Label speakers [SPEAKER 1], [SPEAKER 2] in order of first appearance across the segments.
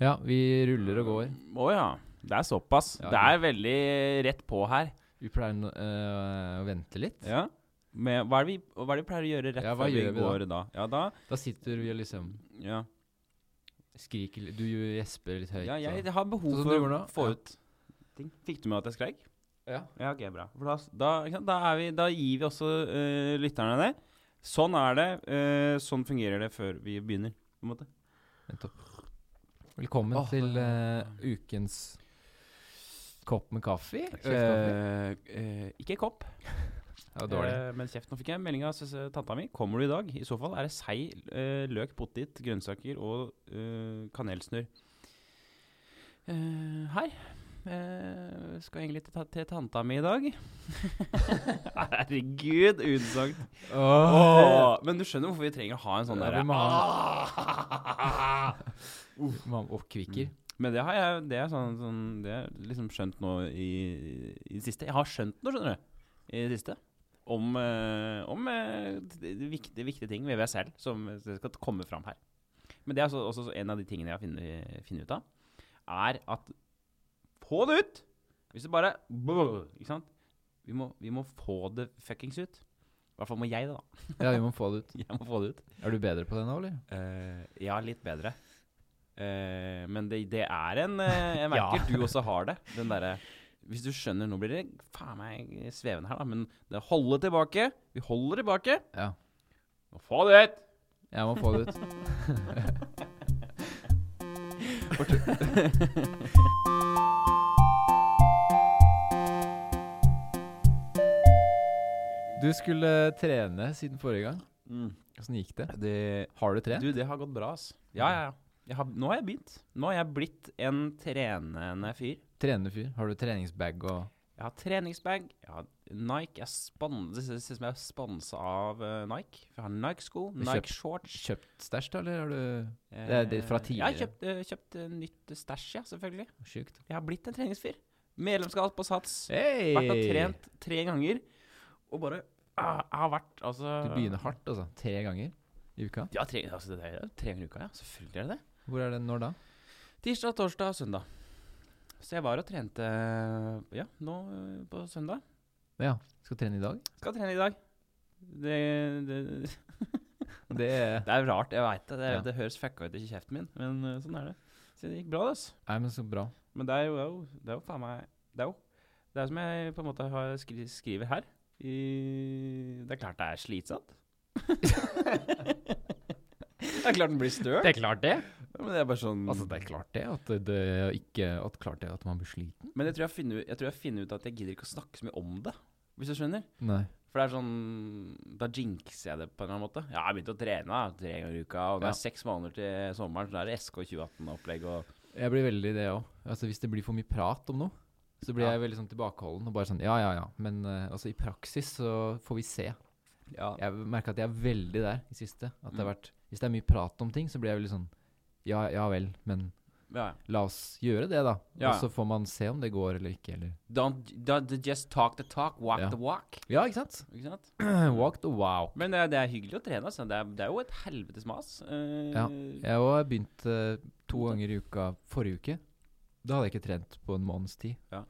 [SPEAKER 1] Ja, vi ruller og går.
[SPEAKER 2] Å ja. Det er såpass.
[SPEAKER 1] Ja,
[SPEAKER 2] det
[SPEAKER 1] ja.
[SPEAKER 2] er veldig rett på her.
[SPEAKER 1] Vi pleier nå- eh, å vente litt.
[SPEAKER 2] Ja. Men hva er det vi, hva er det vi pleier å gjøre rett
[SPEAKER 1] Ja, hva
[SPEAKER 2] før vi
[SPEAKER 1] gjør vi da?
[SPEAKER 2] går da? Ja, da
[SPEAKER 1] Da sitter vi og liksom
[SPEAKER 2] ja.
[SPEAKER 1] skriker litt Du gjesper litt høyt.
[SPEAKER 2] ja,
[SPEAKER 1] og-
[SPEAKER 2] jeg har behov
[SPEAKER 1] Sånn som du
[SPEAKER 2] for
[SPEAKER 1] gjorde
[SPEAKER 2] å
[SPEAKER 1] nå?
[SPEAKER 2] få
[SPEAKER 1] Ja.
[SPEAKER 2] ut ting. Fikk du med at jeg skreik?
[SPEAKER 1] ja.
[SPEAKER 2] Ja, ok, bra. For da, da, ikke sant, da, er vi, da gir vi også eh, lytterne det. Sånn er det. eh, sånn fungerer det før vi begynner. På en måte.
[SPEAKER 1] Nettopp. Velkommen
[SPEAKER 2] Åh.
[SPEAKER 1] til eh, ukens kopp med kaffe. Kjeft
[SPEAKER 2] Eh, eh, ikke kopp,
[SPEAKER 1] kaffe. Det var dårlig.
[SPEAKER 2] eh, men kjeft. Nå fikk jeg melding av søs- tanta mi. Kommer du i dag? I så fall er det sei eh, løk, potet, grønnsaker og eh, kanelsnurr. Eh, her. Eh, skal egentlig til, ta til tanta mi i dag. Herregud, utsagt.
[SPEAKER 1] Åh.
[SPEAKER 2] Åh, Men du skjønner hvorfor vi trenger å ha en Eh. sånn
[SPEAKER 1] Ja,
[SPEAKER 2] derre
[SPEAKER 1] vi må
[SPEAKER 2] ah! Mm.
[SPEAKER 1] Man oppkvikker.
[SPEAKER 2] Men det har jeg det er sånn, sånn Det er liksom skjønt nå i, i det siste. Jeg har skjønt noe, skjønner du. I det siste. Om, eh, om eh, d- d- viktige, viktige ting ved meg selv som skal komme fram her. Men det er altså også en av de tingene jeg har funnet, funnet ut av, er at Få det ut! Hvis du bare Ikke sant? Vi må, vi må få det fuckings ut. I hvert fall må jeg det, da.
[SPEAKER 1] Ja, vi må få det ut.
[SPEAKER 2] Jeg må få det ut.
[SPEAKER 1] Er du bedre på det nå, eller?
[SPEAKER 2] Eh, ja, litt bedre. Eh, men det, det er en eh, Jeg
[SPEAKER 1] Ja.
[SPEAKER 2] merker du også har det. Den derre Hvis du skjønner Nå blir det faen meg svevende her, da. Men det holde tilbake. Vi holder tilbake.
[SPEAKER 1] Ja.
[SPEAKER 2] Nå få det ut!
[SPEAKER 1] Jeg må få det ut. Du skulle trene siden forrige gang. Åssen gikk det? Har du trent?
[SPEAKER 2] Du, det har gått bra, ass. Ja, ja, ja. Jeg har, nå har jeg begynt. Nå har jeg blitt en trenende fyr.
[SPEAKER 1] Trenende fyr. Har du treningsbag og
[SPEAKER 2] Jeg har treningsbag. Jeg har Nike. Jeg spon- det ser det ser ut som jeg er sponsa av eh, Nike. For jeg har Nike-sko,
[SPEAKER 1] Du kjøp-
[SPEAKER 2] Nike-shorts.
[SPEAKER 1] kjøpt stæsj, da, eller har du Det er det fra
[SPEAKER 2] Eh, Jeg har
[SPEAKER 1] tidligere.
[SPEAKER 2] kjøpt, eh, kjøpt eh, nytt stæsj, ja, selvfølgelig.
[SPEAKER 1] Sjukt.
[SPEAKER 2] Jeg har blitt en treningsfyr. Medlemskap på Sats.
[SPEAKER 1] Hey!
[SPEAKER 2] Vært og trent tre ganger. Og bare ah, Jeg har vært altså
[SPEAKER 1] Du begynner hardt, altså. Tre ganger i uka.
[SPEAKER 2] Ja, tre, altså, det er jo tre ganger i uka, ja. Selvfølgelig er det det.
[SPEAKER 1] Hvor er det når da?
[SPEAKER 2] Tirsdag, torsdag og søndag. Så jeg var og trente ja, nå eh, på søndag.
[SPEAKER 1] Ja, skal trene i dag?
[SPEAKER 2] Skal trene i dag. Det, det,
[SPEAKER 1] Det er
[SPEAKER 2] det er rart, jeg veit det. Det,
[SPEAKER 1] Ja.
[SPEAKER 2] det høres fucka ut i kjeften min, men eh, sånn er det. Så det gikk bra, det. Altså.
[SPEAKER 1] Nei, men så bra.
[SPEAKER 2] Men det er jo, det er jo, det er jo faen meg Det er jo det er som jeg på en måte har skri, skriver her. I, det er klart det er slitsomt. det er klart den blir støl.
[SPEAKER 1] er klart det.
[SPEAKER 2] Men det er bare sånn
[SPEAKER 1] Altså, det er klart det. At det, det er ikke At klart det at man blir sliten.
[SPEAKER 2] Men jeg tror jeg, finner, ut- jeg tror jeg finner ut at jeg gidder ikke å snakke så mye om det. Hvis du skjønner?
[SPEAKER 1] Nei.
[SPEAKER 2] For det er sånn Da jinxer jeg det på en eller annen måte. Ja, jeg har begynt å trene da, tre ganger i uka, og det
[SPEAKER 1] Ja.
[SPEAKER 2] er seks måneder til sommeren, så da er det SK 2018-opplegg og
[SPEAKER 1] Jeg blir veldig det òg. Altså, hvis det blir for mye prat om noe, så blir
[SPEAKER 2] Ja.
[SPEAKER 1] jeg veldig sånn tilbakeholden og bare sånn Ja, ja, ja. Men eh, altså, i praksis så får vi se.
[SPEAKER 2] ja.
[SPEAKER 1] Jeg merker at jeg er veldig der i siste. At det har
[SPEAKER 2] Mm.
[SPEAKER 1] vært Hvis det er mye prat om ting, så blir jeg veldig sånn Ja, ja vel. Men
[SPEAKER 2] ja.
[SPEAKER 1] la oss gjøre det, da.
[SPEAKER 2] Ja.
[SPEAKER 1] Og så får man se om det går eller ikke, eller
[SPEAKER 2] Don't, don't just talk the talk, walk
[SPEAKER 1] Ja.
[SPEAKER 2] the walk.
[SPEAKER 1] Ja, ikke sant?
[SPEAKER 2] Ikke sant?
[SPEAKER 1] Walk the wow.
[SPEAKER 2] Men det, er- det er hyggelig å trene. Altså. Det, er, det er jo et helvetes mas. Eh,
[SPEAKER 1] Ja. Jeg òg har begynt eh, to ganger i uka forrige uke. Da hadde jeg ikke trent på en måneds tid.
[SPEAKER 2] Ja.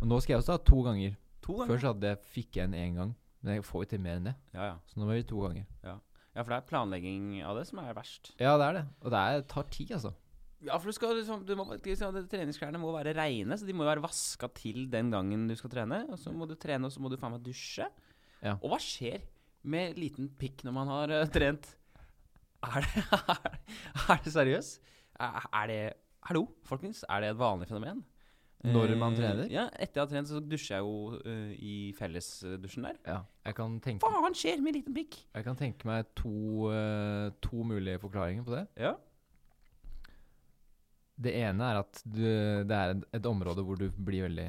[SPEAKER 1] Og nå skal jeg også ha to ganger.
[SPEAKER 2] To
[SPEAKER 1] Før
[SPEAKER 2] ganger.
[SPEAKER 1] så hadde jeg, fikk jeg en én gang. Men jeg får jo til mer enn det,
[SPEAKER 2] Ja, ja.
[SPEAKER 1] så nå må vi to ganger.
[SPEAKER 2] ja, for det er planlegging av det som er verst.
[SPEAKER 1] Ja, det er det. Og det er, tar tid, altså.
[SPEAKER 2] Ja, for du skal liksom, du må, liksom det- Treningsklærne må være reine, så de må jo være vaska til den gangen du skal trene. Og så må du trene, og så må du faen meg dusje.
[SPEAKER 1] Ja.
[SPEAKER 2] Og hva skjer med liten pikk når man har eh, trent? Er det, er, det seriøst? Er, er det Hallo, folkens. Er det et vanlig fenomen?
[SPEAKER 1] Når man
[SPEAKER 2] Eh,
[SPEAKER 1] trener?
[SPEAKER 2] Ja, etter jeg har trent, så dusjer jeg jo eh, i fellesdusjen der.
[SPEAKER 1] Ja. Jeg kan tenke,
[SPEAKER 2] faen skjer med liten pikk?
[SPEAKER 1] jeg kan tenke meg to, eh, to mulige forklaringer på det.
[SPEAKER 2] Ja.
[SPEAKER 1] Det ene er at du, det er et, et område hvor du blir veldig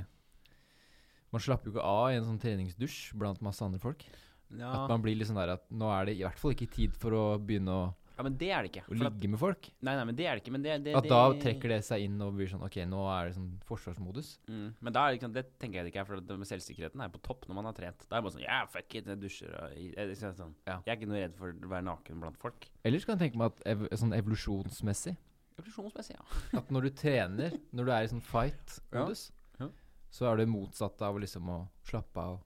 [SPEAKER 1] Man slapper jo ikke av i en sånn treningsdusj blant masse andre folk. At
[SPEAKER 2] Ja.
[SPEAKER 1] man blir litt sånn der at nå er det i hvert fall ikke tid for å begynne å,
[SPEAKER 2] men det er det ikke.
[SPEAKER 1] å
[SPEAKER 2] For at,
[SPEAKER 1] ligge med folk.
[SPEAKER 2] nei, nei, men det er det ikke. Men det, det,
[SPEAKER 1] At da trekker det seg inn og blir sånn OK, nå er det sånn forsvarsmodus.
[SPEAKER 2] mm, Men da er det, ikke, sånn- det tenker jeg det ikke er, for at det med selvsikkerheten er på topp når man har trent. Da er det bare sånn Ja, fuck it, jeg dusjer og jeg, jeg, jeg, sånn.
[SPEAKER 1] Ja.
[SPEAKER 2] jeg er ikke noe redd for å være naken blant folk.
[SPEAKER 1] Ellers kan jeg tenke meg at ev sånn evolusjonsmessig
[SPEAKER 2] Evolusjonsmessig, ja.
[SPEAKER 1] At når du trener, når du er i sånn fight-modus,
[SPEAKER 2] Ja, ja.
[SPEAKER 1] så er det motsatt av liksom å slappe av,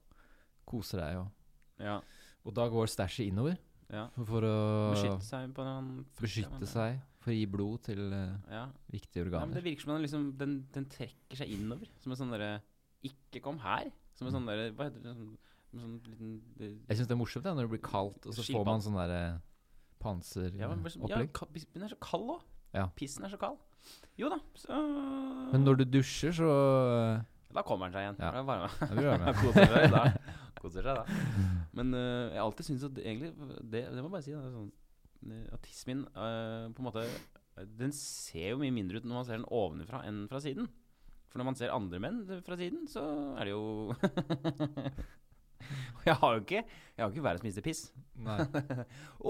[SPEAKER 1] kose deg og
[SPEAKER 2] ja.
[SPEAKER 1] Og da går stæsjet innover
[SPEAKER 2] ja.
[SPEAKER 1] for å
[SPEAKER 2] Beskytte seg på den
[SPEAKER 1] beskytte seg, for å gi blod til eh,
[SPEAKER 2] eh, Ja.
[SPEAKER 1] viktige
[SPEAKER 2] Nei, men
[SPEAKER 1] organer.
[SPEAKER 2] det virker som den, liksom, den, den trekker seg innover. Som en sånn derre Ikke kom her! Som en sånn derre Hva heter det? Sånn, en sånn liten det-
[SPEAKER 1] jeg syns det er morsomt det, når det blir kaldt, og så
[SPEAKER 2] Skilpadde.
[SPEAKER 1] får man sånn derre
[SPEAKER 2] ja, men, bare sånn- ja,
[SPEAKER 1] panseropplegg.
[SPEAKER 2] ka- bis- Den er så kald òg!
[SPEAKER 1] Ja.
[SPEAKER 2] Pissen er så kald. Jo da, så
[SPEAKER 1] Men når du dusjer, så
[SPEAKER 2] Da kommer den seg igjen.
[SPEAKER 1] Ja.
[SPEAKER 2] Da er det varme.
[SPEAKER 1] ja, det gjør det.
[SPEAKER 2] Koser seg da. Koser seg da. Men eh, jeg har alltid syntes at egentlig Det, det må jeg bare si. Det er sånn, eh, at tissen min eh, på en måte eh, Den ser jo mye mindre ut når man ser den ovenfra enn fra siden. For når man ser andre menn fra siden, så er det jo Og Jeg har jo ikke Jeg har jo ikke verdens minste piss.
[SPEAKER 1] Nei,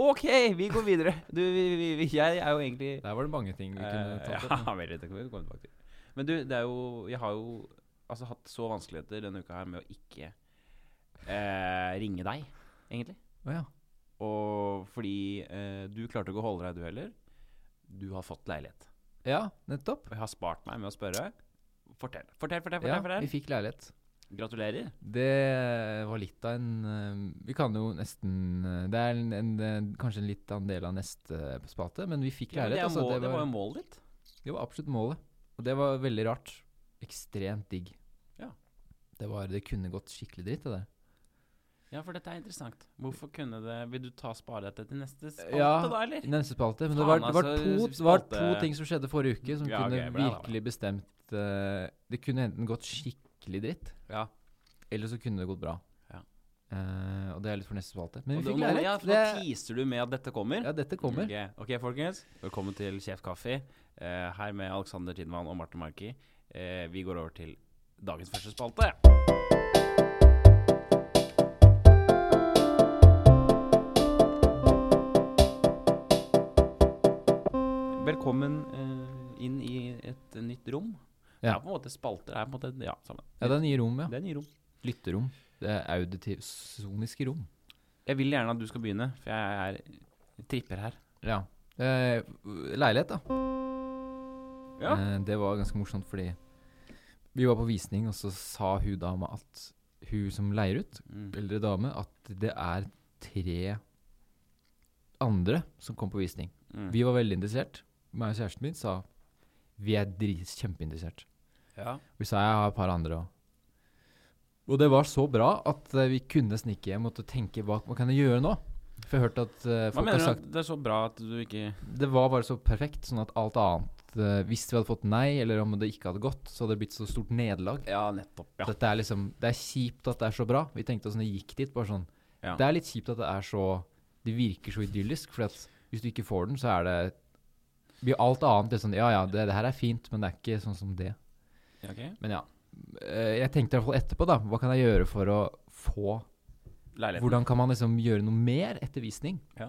[SPEAKER 2] OK, vi går videre. Du, vi, vi, vi, jeg er jo egentlig
[SPEAKER 1] der var det mange ting vi kunne
[SPEAKER 2] Eh,
[SPEAKER 1] tatt
[SPEAKER 2] ja,
[SPEAKER 1] opp. da.
[SPEAKER 2] veldig, det kan vi komme tilbake til. Men du, det er jo Jeg har jo altså hatt så vanskeligheter denne uka her med å ikke eh, ringe deg, egentlig.
[SPEAKER 1] Å ja.
[SPEAKER 2] Og fordi eh, du klarte ikke å holde deg, du heller. Du har fått leilighet.
[SPEAKER 1] ja, nettopp.
[SPEAKER 2] Og jeg har spart meg med å spørre. Fortell, fortell, fortell.
[SPEAKER 1] Ja,
[SPEAKER 2] fortell,
[SPEAKER 1] vi fikk leilighet.
[SPEAKER 2] fortell. Gratulerer.
[SPEAKER 1] Det var litt av en eh, Vi kan jo nesten eh, Det er en, en, eh, kanskje en litt annen del av neste spalte, men vi fikk
[SPEAKER 2] Ja, men det,
[SPEAKER 1] leilighet.
[SPEAKER 2] er
[SPEAKER 1] altså,
[SPEAKER 2] mål, det,
[SPEAKER 1] det,
[SPEAKER 2] var jo
[SPEAKER 1] var,
[SPEAKER 2] målet ditt.
[SPEAKER 1] det var absolutt målet. Og det var veldig rart. Ekstremt digg.
[SPEAKER 2] Ja.
[SPEAKER 1] Det, var, det kunne gått skikkelig dritt, det der.
[SPEAKER 2] Ja, for dette er interessant. Hvorfor kunne det Vil du ta spare dette til neste spalte,
[SPEAKER 1] Ja.
[SPEAKER 2] da, eller?
[SPEAKER 1] I neste spalte. Men det var,
[SPEAKER 2] Faen,
[SPEAKER 1] det var,
[SPEAKER 2] altså,
[SPEAKER 1] to,
[SPEAKER 2] spalte-
[SPEAKER 1] det var to ting som skjedde forrige uke som
[SPEAKER 2] Ja,
[SPEAKER 1] kunne
[SPEAKER 2] ok, bra, bra, bra.
[SPEAKER 1] virkelig bestemt eh, Det kunne enten gått skikkelig dritt,
[SPEAKER 2] Ja.
[SPEAKER 1] eller så kunne det gått bra.
[SPEAKER 2] Ja.
[SPEAKER 1] Eh, og det er litt for neste spalte. Men
[SPEAKER 2] Og
[SPEAKER 1] vi
[SPEAKER 2] det-
[SPEAKER 1] fikk
[SPEAKER 2] nå- Ja,
[SPEAKER 1] leilighet.
[SPEAKER 2] for nå
[SPEAKER 1] det,
[SPEAKER 2] teaser du med at dette kommer.
[SPEAKER 1] ja, dette kommer.
[SPEAKER 2] Ok, Ok, folkens. Velkommen til Sjef Kaffe. Eh, her med Alexander Tindvann og Marte Marki. Eh, vi går over til dagens første spalte. Velkommen eh, inn i et nytt rom. Det
[SPEAKER 1] Ja.
[SPEAKER 2] er på en måte spalter. Det er på en måte, ja, sammen.
[SPEAKER 1] Ja, det er nye rom, ja.
[SPEAKER 2] Det er nye rom.
[SPEAKER 1] Lytterom. Det er auditiv soniske rom.
[SPEAKER 2] Jeg vil gjerne at du skal begynne, for jeg er jeg tripper her.
[SPEAKER 1] Ja. Eh, leilighet, da.
[SPEAKER 2] Ja.
[SPEAKER 1] Eh, det var ganske morsomt, fordi vi var på visning, og så sa hun dama at hun som leier ut,
[SPEAKER 2] Mm.
[SPEAKER 1] eldre dame, at det er tre andre som kom på visning.
[SPEAKER 2] Mm.
[SPEAKER 1] Vi var veldig interessert. Meg og kjæresten min sa vi er dris kjempeinteressert.
[SPEAKER 2] Ja.
[SPEAKER 1] Vi sa jeg har et par andre òg. Og det var så bra at eh, vi kunne snike hjem og tenke hva, hva kan jeg gjøre nå? For jeg har hørt at eh,
[SPEAKER 2] Hva
[SPEAKER 1] folk har
[SPEAKER 2] mener du?
[SPEAKER 1] sagt
[SPEAKER 2] at Det er så bra at du ikke
[SPEAKER 1] Det var bare så perfekt, sånn at alt annet eh, Hvis vi hadde fått nei, eller om det ikke hadde gått, så hadde det blitt så stort nederlag.
[SPEAKER 2] Ja, nettopp. Ja.
[SPEAKER 1] Dette er liksom Det er kjipt at det er så bra. Vi tenkte oss når vi gikk dit, bare sånn
[SPEAKER 2] Ja.
[SPEAKER 1] Det er litt kjipt at det er så Det virker så idyllisk, for at hvis du ikke får den, så er det blir alt annet litt sånn Ja ja, det, det her er fint, men det er ikke sånn som det.
[SPEAKER 2] Ja, ok.
[SPEAKER 1] Men ja. Eh, Jeg tenkte i hvert fall etterpå, da. Hva kan jeg gjøre for å få
[SPEAKER 2] Leiligheten.
[SPEAKER 1] Hvordan kan man liksom gjøre noe mer etter visning?
[SPEAKER 2] Ja.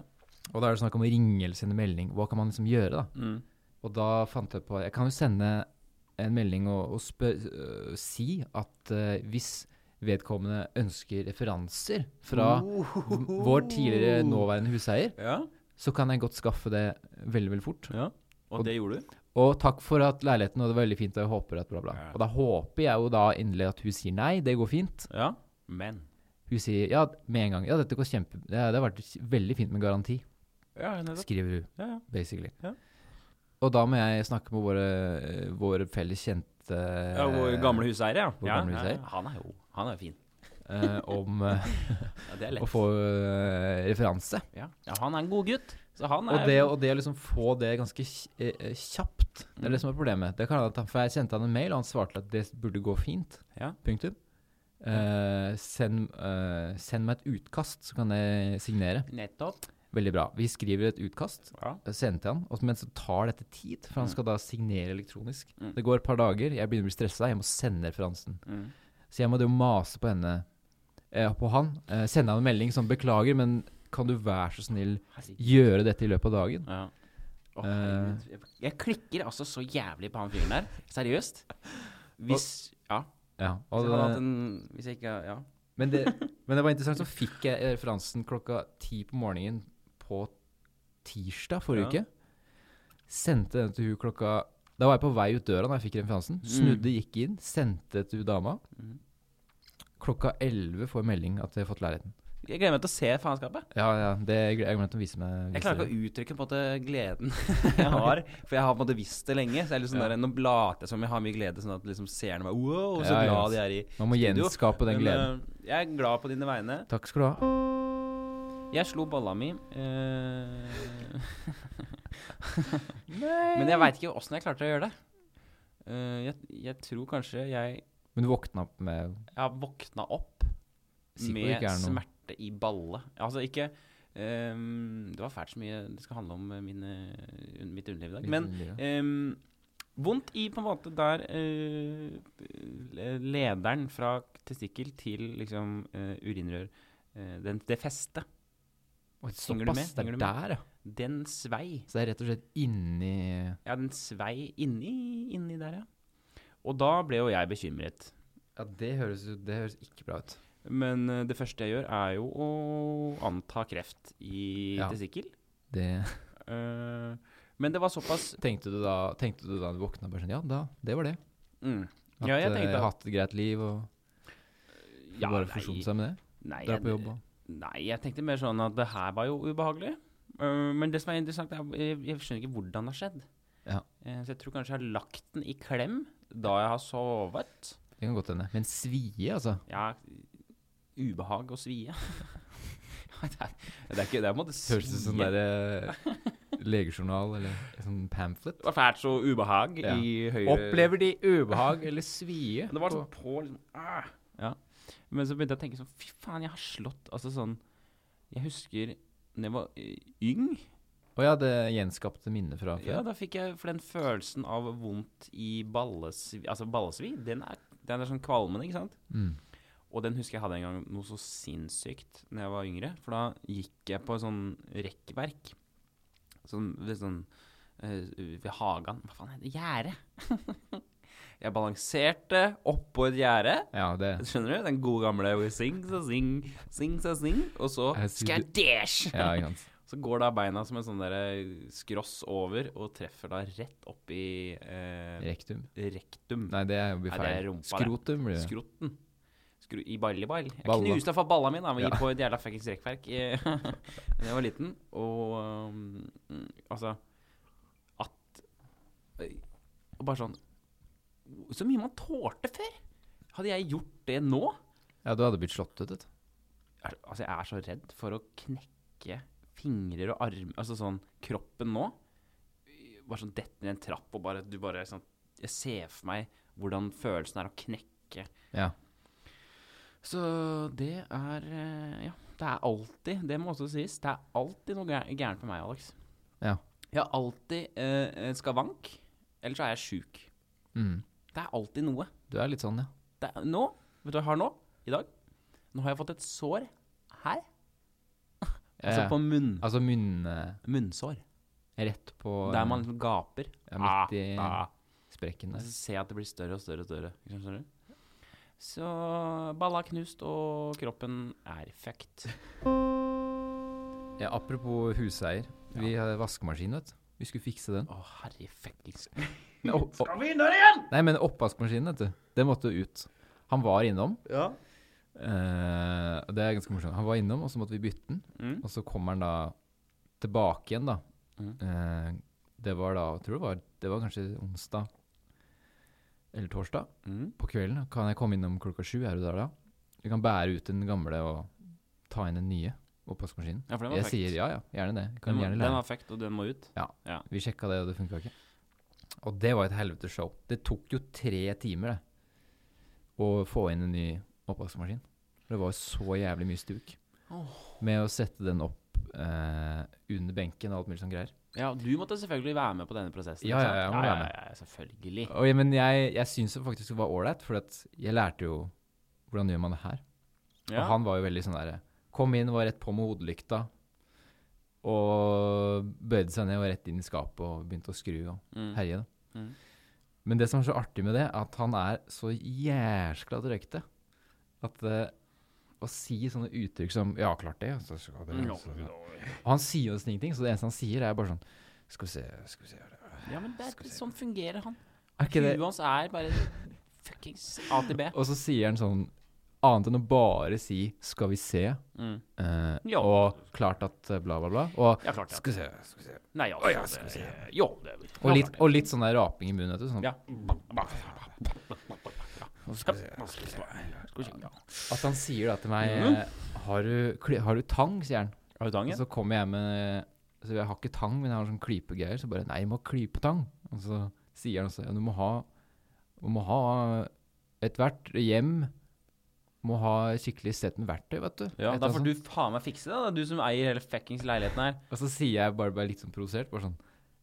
[SPEAKER 1] Og da er det snakk om ringelse eller melding. Hva kan man liksom gjøre, da?
[SPEAKER 2] Mm.
[SPEAKER 1] Og da fant jeg på Jeg kan jo sende en melding og, og spør, øh, si at øh, hvis vedkommende ønsker referanser fra v- vår tidligere nåværende huseier,
[SPEAKER 2] Ja.
[SPEAKER 1] så kan jeg godt skaffe det veldig veldig fort.
[SPEAKER 2] ja. Og det gjorde du?
[SPEAKER 1] Og takk for at leiligheten var veldig fint, og jeg håper at bla, bla.
[SPEAKER 2] Ja.
[SPEAKER 1] Og da håper jeg jo da endelig at hun sier nei, det går fint.
[SPEAKER 2] Ja. Men
[SPEAKER 1] Hun sier ja med en gang. Ja, dette går kjempe... Det, det har vært veldig fint med garanti,
[SPEAKER 2] Ja, nettopp.
[SPEAKER 1] skriver hun.
[SPEAKER 2] Ja, ja.
[SPEAKER 1] basically.
[SPEAKER 2] Ja.
[SPEAKER 1] Og da må jeg snakke med våre, våre felles kjente
[SPEAKER 2] ja vår gamle huseier, ja.
[SPEAKER 1] Eh, vår
[SPEAKER 2] ja,
[SPEAKER 1] gamle
[SPEAKER 2] ja,
[SPEAKER 1] huseier.
[SPEAKER 2] ja. Han er jo Han er fin.
[SPEAKER 1] eh, om eh,
[SPEAKER 2] Ja, det er
[SPEAKER 1] å
[SPEAKER 2] lett.
[SPEAKER 1] få eh, referanse.
[SPEAKER 2] Ja. ja, han er en god gutt. Så han er
[SPEAKER 1] Og det, og det å liksom få det ganske kj- eh, eh, kjapt, det er
[SPEAKER 2] Mm.
[SPEAKER 1] det som er problemet. Det kan hende at han, for jeg sendte han en mail, og han svarte at det burde gå fint.
[SPEAKER 2] Ja.
[SPEAKER 1] Punktum. Eh, send, eh, send meg et utkast, så kan jeg signere.
[SPEAKER 2] Nettopp.
[SPEAKER 1] Veldig bra. Vi skriver et utkast.
[SPEAKER 2] Ja.
[SPEAKER 1] Jeg sendte han, og- men så tar dette tid, for han
[SPEAKER 2] Mm.
[SPEAKER 1] skal da signere elektronisk.
[SPEAKER 2] Mm.
[SPEAKER 1] Det går et par dager, jeg begynner å bli stressa, jeg må sende referansen.
[SPEAKER 2] Mm.
[SPEAKER 1] Så jeg måtte jo mase på henne, eh, på han, eh, sende han en melding som beklager, men kan du være så snill
[SPEAKER 2] Herregud.
[SPEAKER 1] gjøre dette i løpet av dagen?
[SPEAKER 2] Ja. Å,
[SPEAKER 1] Eh.
[SPEAKER 2] herregud. Jeg- Jeg klikker altså så jævlig på han fyren der. Seriøst. Hvis Ja.
[SPEAKER 1] Ja,
[SPEAKER 2] Hvis
[SPEAKER 1] og
[SPEAKER 2] jeg hadde hatt
[SPEAKER 1] det,
[SPEAKER 2] en Hvis jeg ikke Ja.
[SPEAKER 1] men, det, men det var interessant, så fikk jeg referansen klokka ti på morgenen på tirsdag forrige
[SPEAKER 2] Ja.
[SPEAKER 1] uke. Sendte den til hun klokka Da var jeg på vei ut døra da jeg fikk referansen.
[SPEAKER 2] Mm.
[SPEAKER 1] Snudde, gikk inn, sendte til dama.
[SPEAKER 2] Mhm.
[SPEAKER 1] Klokka 11 får jeg melding at jeg har fått leiligheten.
[SPEAKER 2] Jeg gleder meg til å se faenskapet.
[SPEAKER 1] Ja, ja, det jeg gle- jeg glemte å vise meg.
[SPEAKER 2] Jeg klarer ikke å uttrykke på en måte gleden jeg har, for jeg har på en måte visst det lenge. Så jeg er liksom der, Nå blater jeg som om jeg har mye glede, sånn at liksom seerne bare Wow, så
[SPEAKER 1] Ja, ja.
[SPEAKER 2] glad de er i
[SPEAKER 1] Man må
[SPEAKER 2] studio.
[SPEAKER 1] gjenskape den
[SPEAKER 2] Men,
[SPEAKER 1] gleden.
[SPEAKER 2] eh, jeg er glad på dine vegne.
[SPEAKER 1] Takk skal du ha.
[SPEAKER 2] Jeg slo balla mi. eh, Men jeg veit ikke åssen jeg klarte å gjøre det. Eh, jeg, jeg tror kanskje jeg
[SPEAKER 1] Men du våkna opp med
[SPEAKER 2] Jeg har våkna opp
[SPEAKER 1] Sikkert
[SPEAKER 2] med
[SPEAKER 1] ikke er noe
[SPEAKER 2] smerte i balle. Altså ikke ehm, Det var fælt så mye det skal handle om eh, mine, un- mitt underliv i dag. Men ehm, vondt i på en måte der eh, eh, lederen fra testikkel til liksom eh, urinrør eh, den, Det festet,
[SPEAKER 1] Oi,
[SPEAKER 2] henger du med?
[SPEAKER 1] Såpass. Det
[SPEAKER 2] Henger
[SPEAKER 1] er
[SPEAKER 2] du med?
[SPEAKER 1] der, ja.
[SPEAKER 2] den svei.
[SPEAKER 1] Så det er rett og slett inni
[SPEAKER 2] Ja, den svei inni, inni der, ja. Og da ble jo jeg bekymret.
[SPEAKER 1] Ja, det høres, jo- det høres ikke bra ut.
[SPEAKER 2] Men eh, det første jeg gjør, er jo å anta kreft i
[SPEAKER 1] Ja.
[SPEAKER 2] testikkel.
[SPEAKER 1] Det
[SPEAKER 2] Eh, men det var såpass
[SPEAKER 1] Tenkte du da, tenkte du da du våkna bare sånn Ja, da, det var det.
[SPEAKER 2] mm,
[SPEAKER 1] At
[SPEAKER 2] Ja,
[SPEAKER 1] eh,
[SPEAKER 2] jeg tenkte
[SPEAKER 1] har
[SPEAKER 2] at-
[SPEAKER 1] hatt et greit liv og
[SPEAKER 2] ja,
[SPEAKER 1] bare
[SPEAKER 2] nei,
[SPEAKER 1] forsone seg med det.
[SPEAKER 2] Nei
[SPEAKER 1] Dra på
[SPEAKER 2] jeg,
[SPEAKER 1] jobb og
[SPEAKER 2] nei, jeg tenkte mer sånn at det her var jo ubehagelig. Eh, men det som er interessant, er jeg, jeg skjønner ikke hvordan det har skjedd.
[SPEAKER 1] Ja.
[SPEAKER 2] Eh, så jeg tror kanskje jeg har lagt den i klem da jeg har sovet.
[SPEAKER 1] Det kan godt hende. Men svie, altså.
[SPEAKER 2] Ja, ubehag og svie. det, er, det er ikke det er på en måte
[SPEAKER 1] Høres ut som
[SPEAKER 2] svie.
[SPEAKER 1] der eh, legejournal eller sånn pamphlet.
[SPEAKER 2] Det var fælt så ubehag
[SPEAKER 1] Ja.
[SPEAKER 2] i høyre
[SPEAKER 1] Opplever de ubehag eller svie?
[SPEAKER 2] Det var sånn på liksom ah. ja. Men så begynte jeg å tenke sånn Fy faen, jeg har slått Altså sånn Jeg husker da jeg var eh, yng
[SPEAKER 1] Å ja, det gjenskapte minnet fra
[SPEAKER 2] Ja,
[SPEAKER 1] før.
[SPEAKER 2] da fikk jeg For den følelsen av vondt i ballesvi Altså ballesvi Den er, den er sånn kvalmende, ikke sant?
[SPEAKER 1] Mm.
[SPEAKER 2] Og den husker jeg hadde en gang noe så sinnssykt Når jeg var yngre For da gikk jeg på sånn rekverk Sånn, ved sånn eh, Ved hagen Hva faen heter det? Gjære Jeg balanserte oppå et gjære
[SPEAKER 1] Ja, det
[SPEAKER 2] Skjønner du? Den gode gamle Sing, sa sing, sing, sa sing. Og så
[SPEAKER 1] Jeg synes det-
[SPEAKER 2] Skadesj!
[SPEAKER 1] Ja, ikke sant.
[SPEAKER 2] Så går da beina som en sånn derre skross over, og treffer da rett opp i eh,
[SPEAKER 1] Rektum.
[SPEAKER 2] rektum.
[SPEAKER 1] Nei, det blir
[SPEAKER 2] Nei, det
[SPEAKER 1] feil.
[SPEAKER 2] er rumpa, det.
[SPEAKER 1] Skrotum blir det.
[SPEAKER 2] Skrotten. Skru, I balleball. Jeg
[SPEAKER 1] Balla.
[SPEAKER 2] knuste iallfall balla mine da,
[SPEAKER 1] Ja.
[SPEAKER 2] på et jævla fuckings rekkverk eh, da jeg var liten. Og um, mm, altså At eh, og Bare sånn Så mye man tålte før! Hadde jeg gjort det nå
[SPEAKER 1] Ja, du hadde blitt slått ut, vet du.
[SPEAKER 2] er, Altså, jeg er så redd for å knekke fingrer og armer Altså sånn kroppen nå. Bare sånn dette ned en trapp og bare Du bare sånn Jeg ser for meg hvordan følelsen er å knekke.
[SPEAKER 1] Ja.
[SPEAKER 2] Så det er eh, Ja, det er alltid Det må også sies. Det er alltid noe gæ- gærent med meg, Alex.
[SPEAKER 1] Ja.
[SPEAKER 2] Jeg har alltid eh, en skavank, eller så er jeg sjuk.
[SPEAKER 1] Mm.
[SPEAKER 2] Det er alltid noe.
[SPEAKER 1] Du er litt sånn, ja.
[SPEAKER 2] Det er, nå, vet du hva jeg har nå? I dag? Nå har jeg fått et sår her.
[SPEAKER 1] ja.
[SPEAKER 2] Altså på munn.
[SPEAKER 1] Altså munne
[SPEAKER 2] Munnsår.
[SPEAKER 1] rett på
[SPEAKER 2] Der man liksom gaper.
[SPEAKER 1] ja, midt i
[SPEAKER 2] Ah, ah.
[SPEAKER 1] sprekken
[SPEAKER 2] Og
[SPEAKER 1] der.
[SPEAKER 2] så ser jeg at det blir større og større og større. Ikke sant, Skjønner du? Så balla er knust, og kroppen er fucked.
[SPEAKER 1] Ja, apropos huseier. Vi hadde vaskemaskin, vet du. Vi skulle fikse den.
[SPEAKER 2] Å, herre fuckings
[SPEAKER 1] Skal vi innom igjen? Nei, men oppvaskmaskinen, vet du. Den måtte jo ut. Han var innom.
[SPEAKER 2] Ja.
[SPEAKER 1] eh, og det er ganske morsomt. Han var innom, og så måtte vi bytte den.
[SPEAKER 2] Mm.
[SPEAKER 1] Og så kommer han da tilbake igjen, da.
[SPEAKER 2] Mhm.
[SPEAKER 1] Eh, det var da, jeg tror det var, det var kanskje onsdag eller torsdag.
[SPEAKER 2] Mm.
[SPEAKER 1] på kvelden. Kan jeg komme innom klokka sju? Er du der da? Vi kan bære ut den gamle og ta inn den nye oppvaskmaskinen.
[SPEAKER 2] Ja, for den
[SPEAKER 1] Jeg
[SPEAKER 2] var fucked.
[SPEAKER 1] sier ja, ja. Gjerne det. Jeg
[SPEAKER 2] Den,
[SPEAKER 1] Kan
[SPEAKER 2] må-
[SPEAKER 1] gjerne
[SPEAKER 2] den
[SPEAKER 1] lære.
[SPEAKER 2] var fucked, og den må ut.
[SPEAKER 1] Vi sjekka det, og det funka ikke. Og det var et helvetes show. Det tok jo tre timer det, å få inn en ny oppvaskmaskin. Det var så jævlig mye stuk med å sette den opp eh, under benken og alt mulig sånn greier.
[SPEAKER 2] Ja, du måtte selvfølgelig være med på denne prosessen.
[SPEAKER 1] Ja,
[SPEAKER 2] ikke
[SPEAKER 1] ja,
[SPEAKER 2] sant?
[SPEAKER 1] jeg må
[SPEAKER 2] ja,
[SPEAKER 1] være med.
[SPEAKER 2] ja, ja, selvfølgelig.
[SPEAKER 1] Og, ja, men jeg, jeg syns det faktisk var ålreit, for at jeg lærte jo hvordan gjør man det her.
[SPEAKER 2] Ja.
[SPEAKER 1] Og han var jo veldig sånn der Kom inn, var rett på med hodelykta. Og bøyde seg ned og rett inn i skapet og begynte å skru og
[SPEAKER 2] Mm.
[SPEAKER 1] herje. da.
[SPEAKER 2] Mm.
[SPEAKER 1] Men det som er så artig med det, at han er så jæskla drøyte. At eh, å si sånne uttrykk som 'Ja, klart det', altså, så skal det
[SPEAKER 2] Ja.
[SPEAKER 1] så. Og han sier jo nesten ingenting, så det eneste han sier, er bare sånn Skal vi se, skal vi se her,
[SPEAKER 2] Ja, men det er, sånn fungerer han.
[SPEAKER 1] Er ikke det
[SPEAKER 2] Huet hans er bare fuckings A til B.
[SPEAKER 1] Og så sier han sånn Annet enn å bare si 'skal vi se',
[SPEAKER 2] Mm.
[SPEAKER 1] eh,
[SPEAKER 2] Ja.
[SPEAKER 1] og 'klart at eh, bla, bla, bla', og
[SPEAKER 2] Ja, klart det.
[SPEAKER 1] skal vi se.
[SPEAKER 2] Nei, ja, det- Jo, det er
[SPEAKER 1] Og litt, og litt sånn der raping i munnen, vet du. Sånn,
[SPEAKER 2] Ja.
[SPEAKER 1] At han sier da til meg
[SPEAKER 2] Mm.
[SPEAKER 1] eh, har, du, kli- 'Har du tang?' sier han.
[SPEAKER 2] Har du
[SPEAKER 1] Og
[SPEAKER 2] tangen?
[SPEAKER 1] så kommer jeg med Så jeg har ikke tang, men jeg har sånn klypegreier. Så bare 'Nei, du må ha klypetang'. Og så sier han også ja, 'Du må ha Du må ha Ethvert hjem må ha skikkelig sett med verktøy, vet du.
[SPEAKER 2] Ja,
[SPEAKER 1] Et
[SPEAKER 2] da
[SPEAKER 1] eller
[SPEAKER 2] får
[SPEAKER 1] annet
[SPEAKER 2] du faen meg fikse det, da. Du som eier hele fuckings leiligheten her.
[SPEAKER 1] sånt. Og så sier jeg bare, bare litt sånn provosert, bare sånn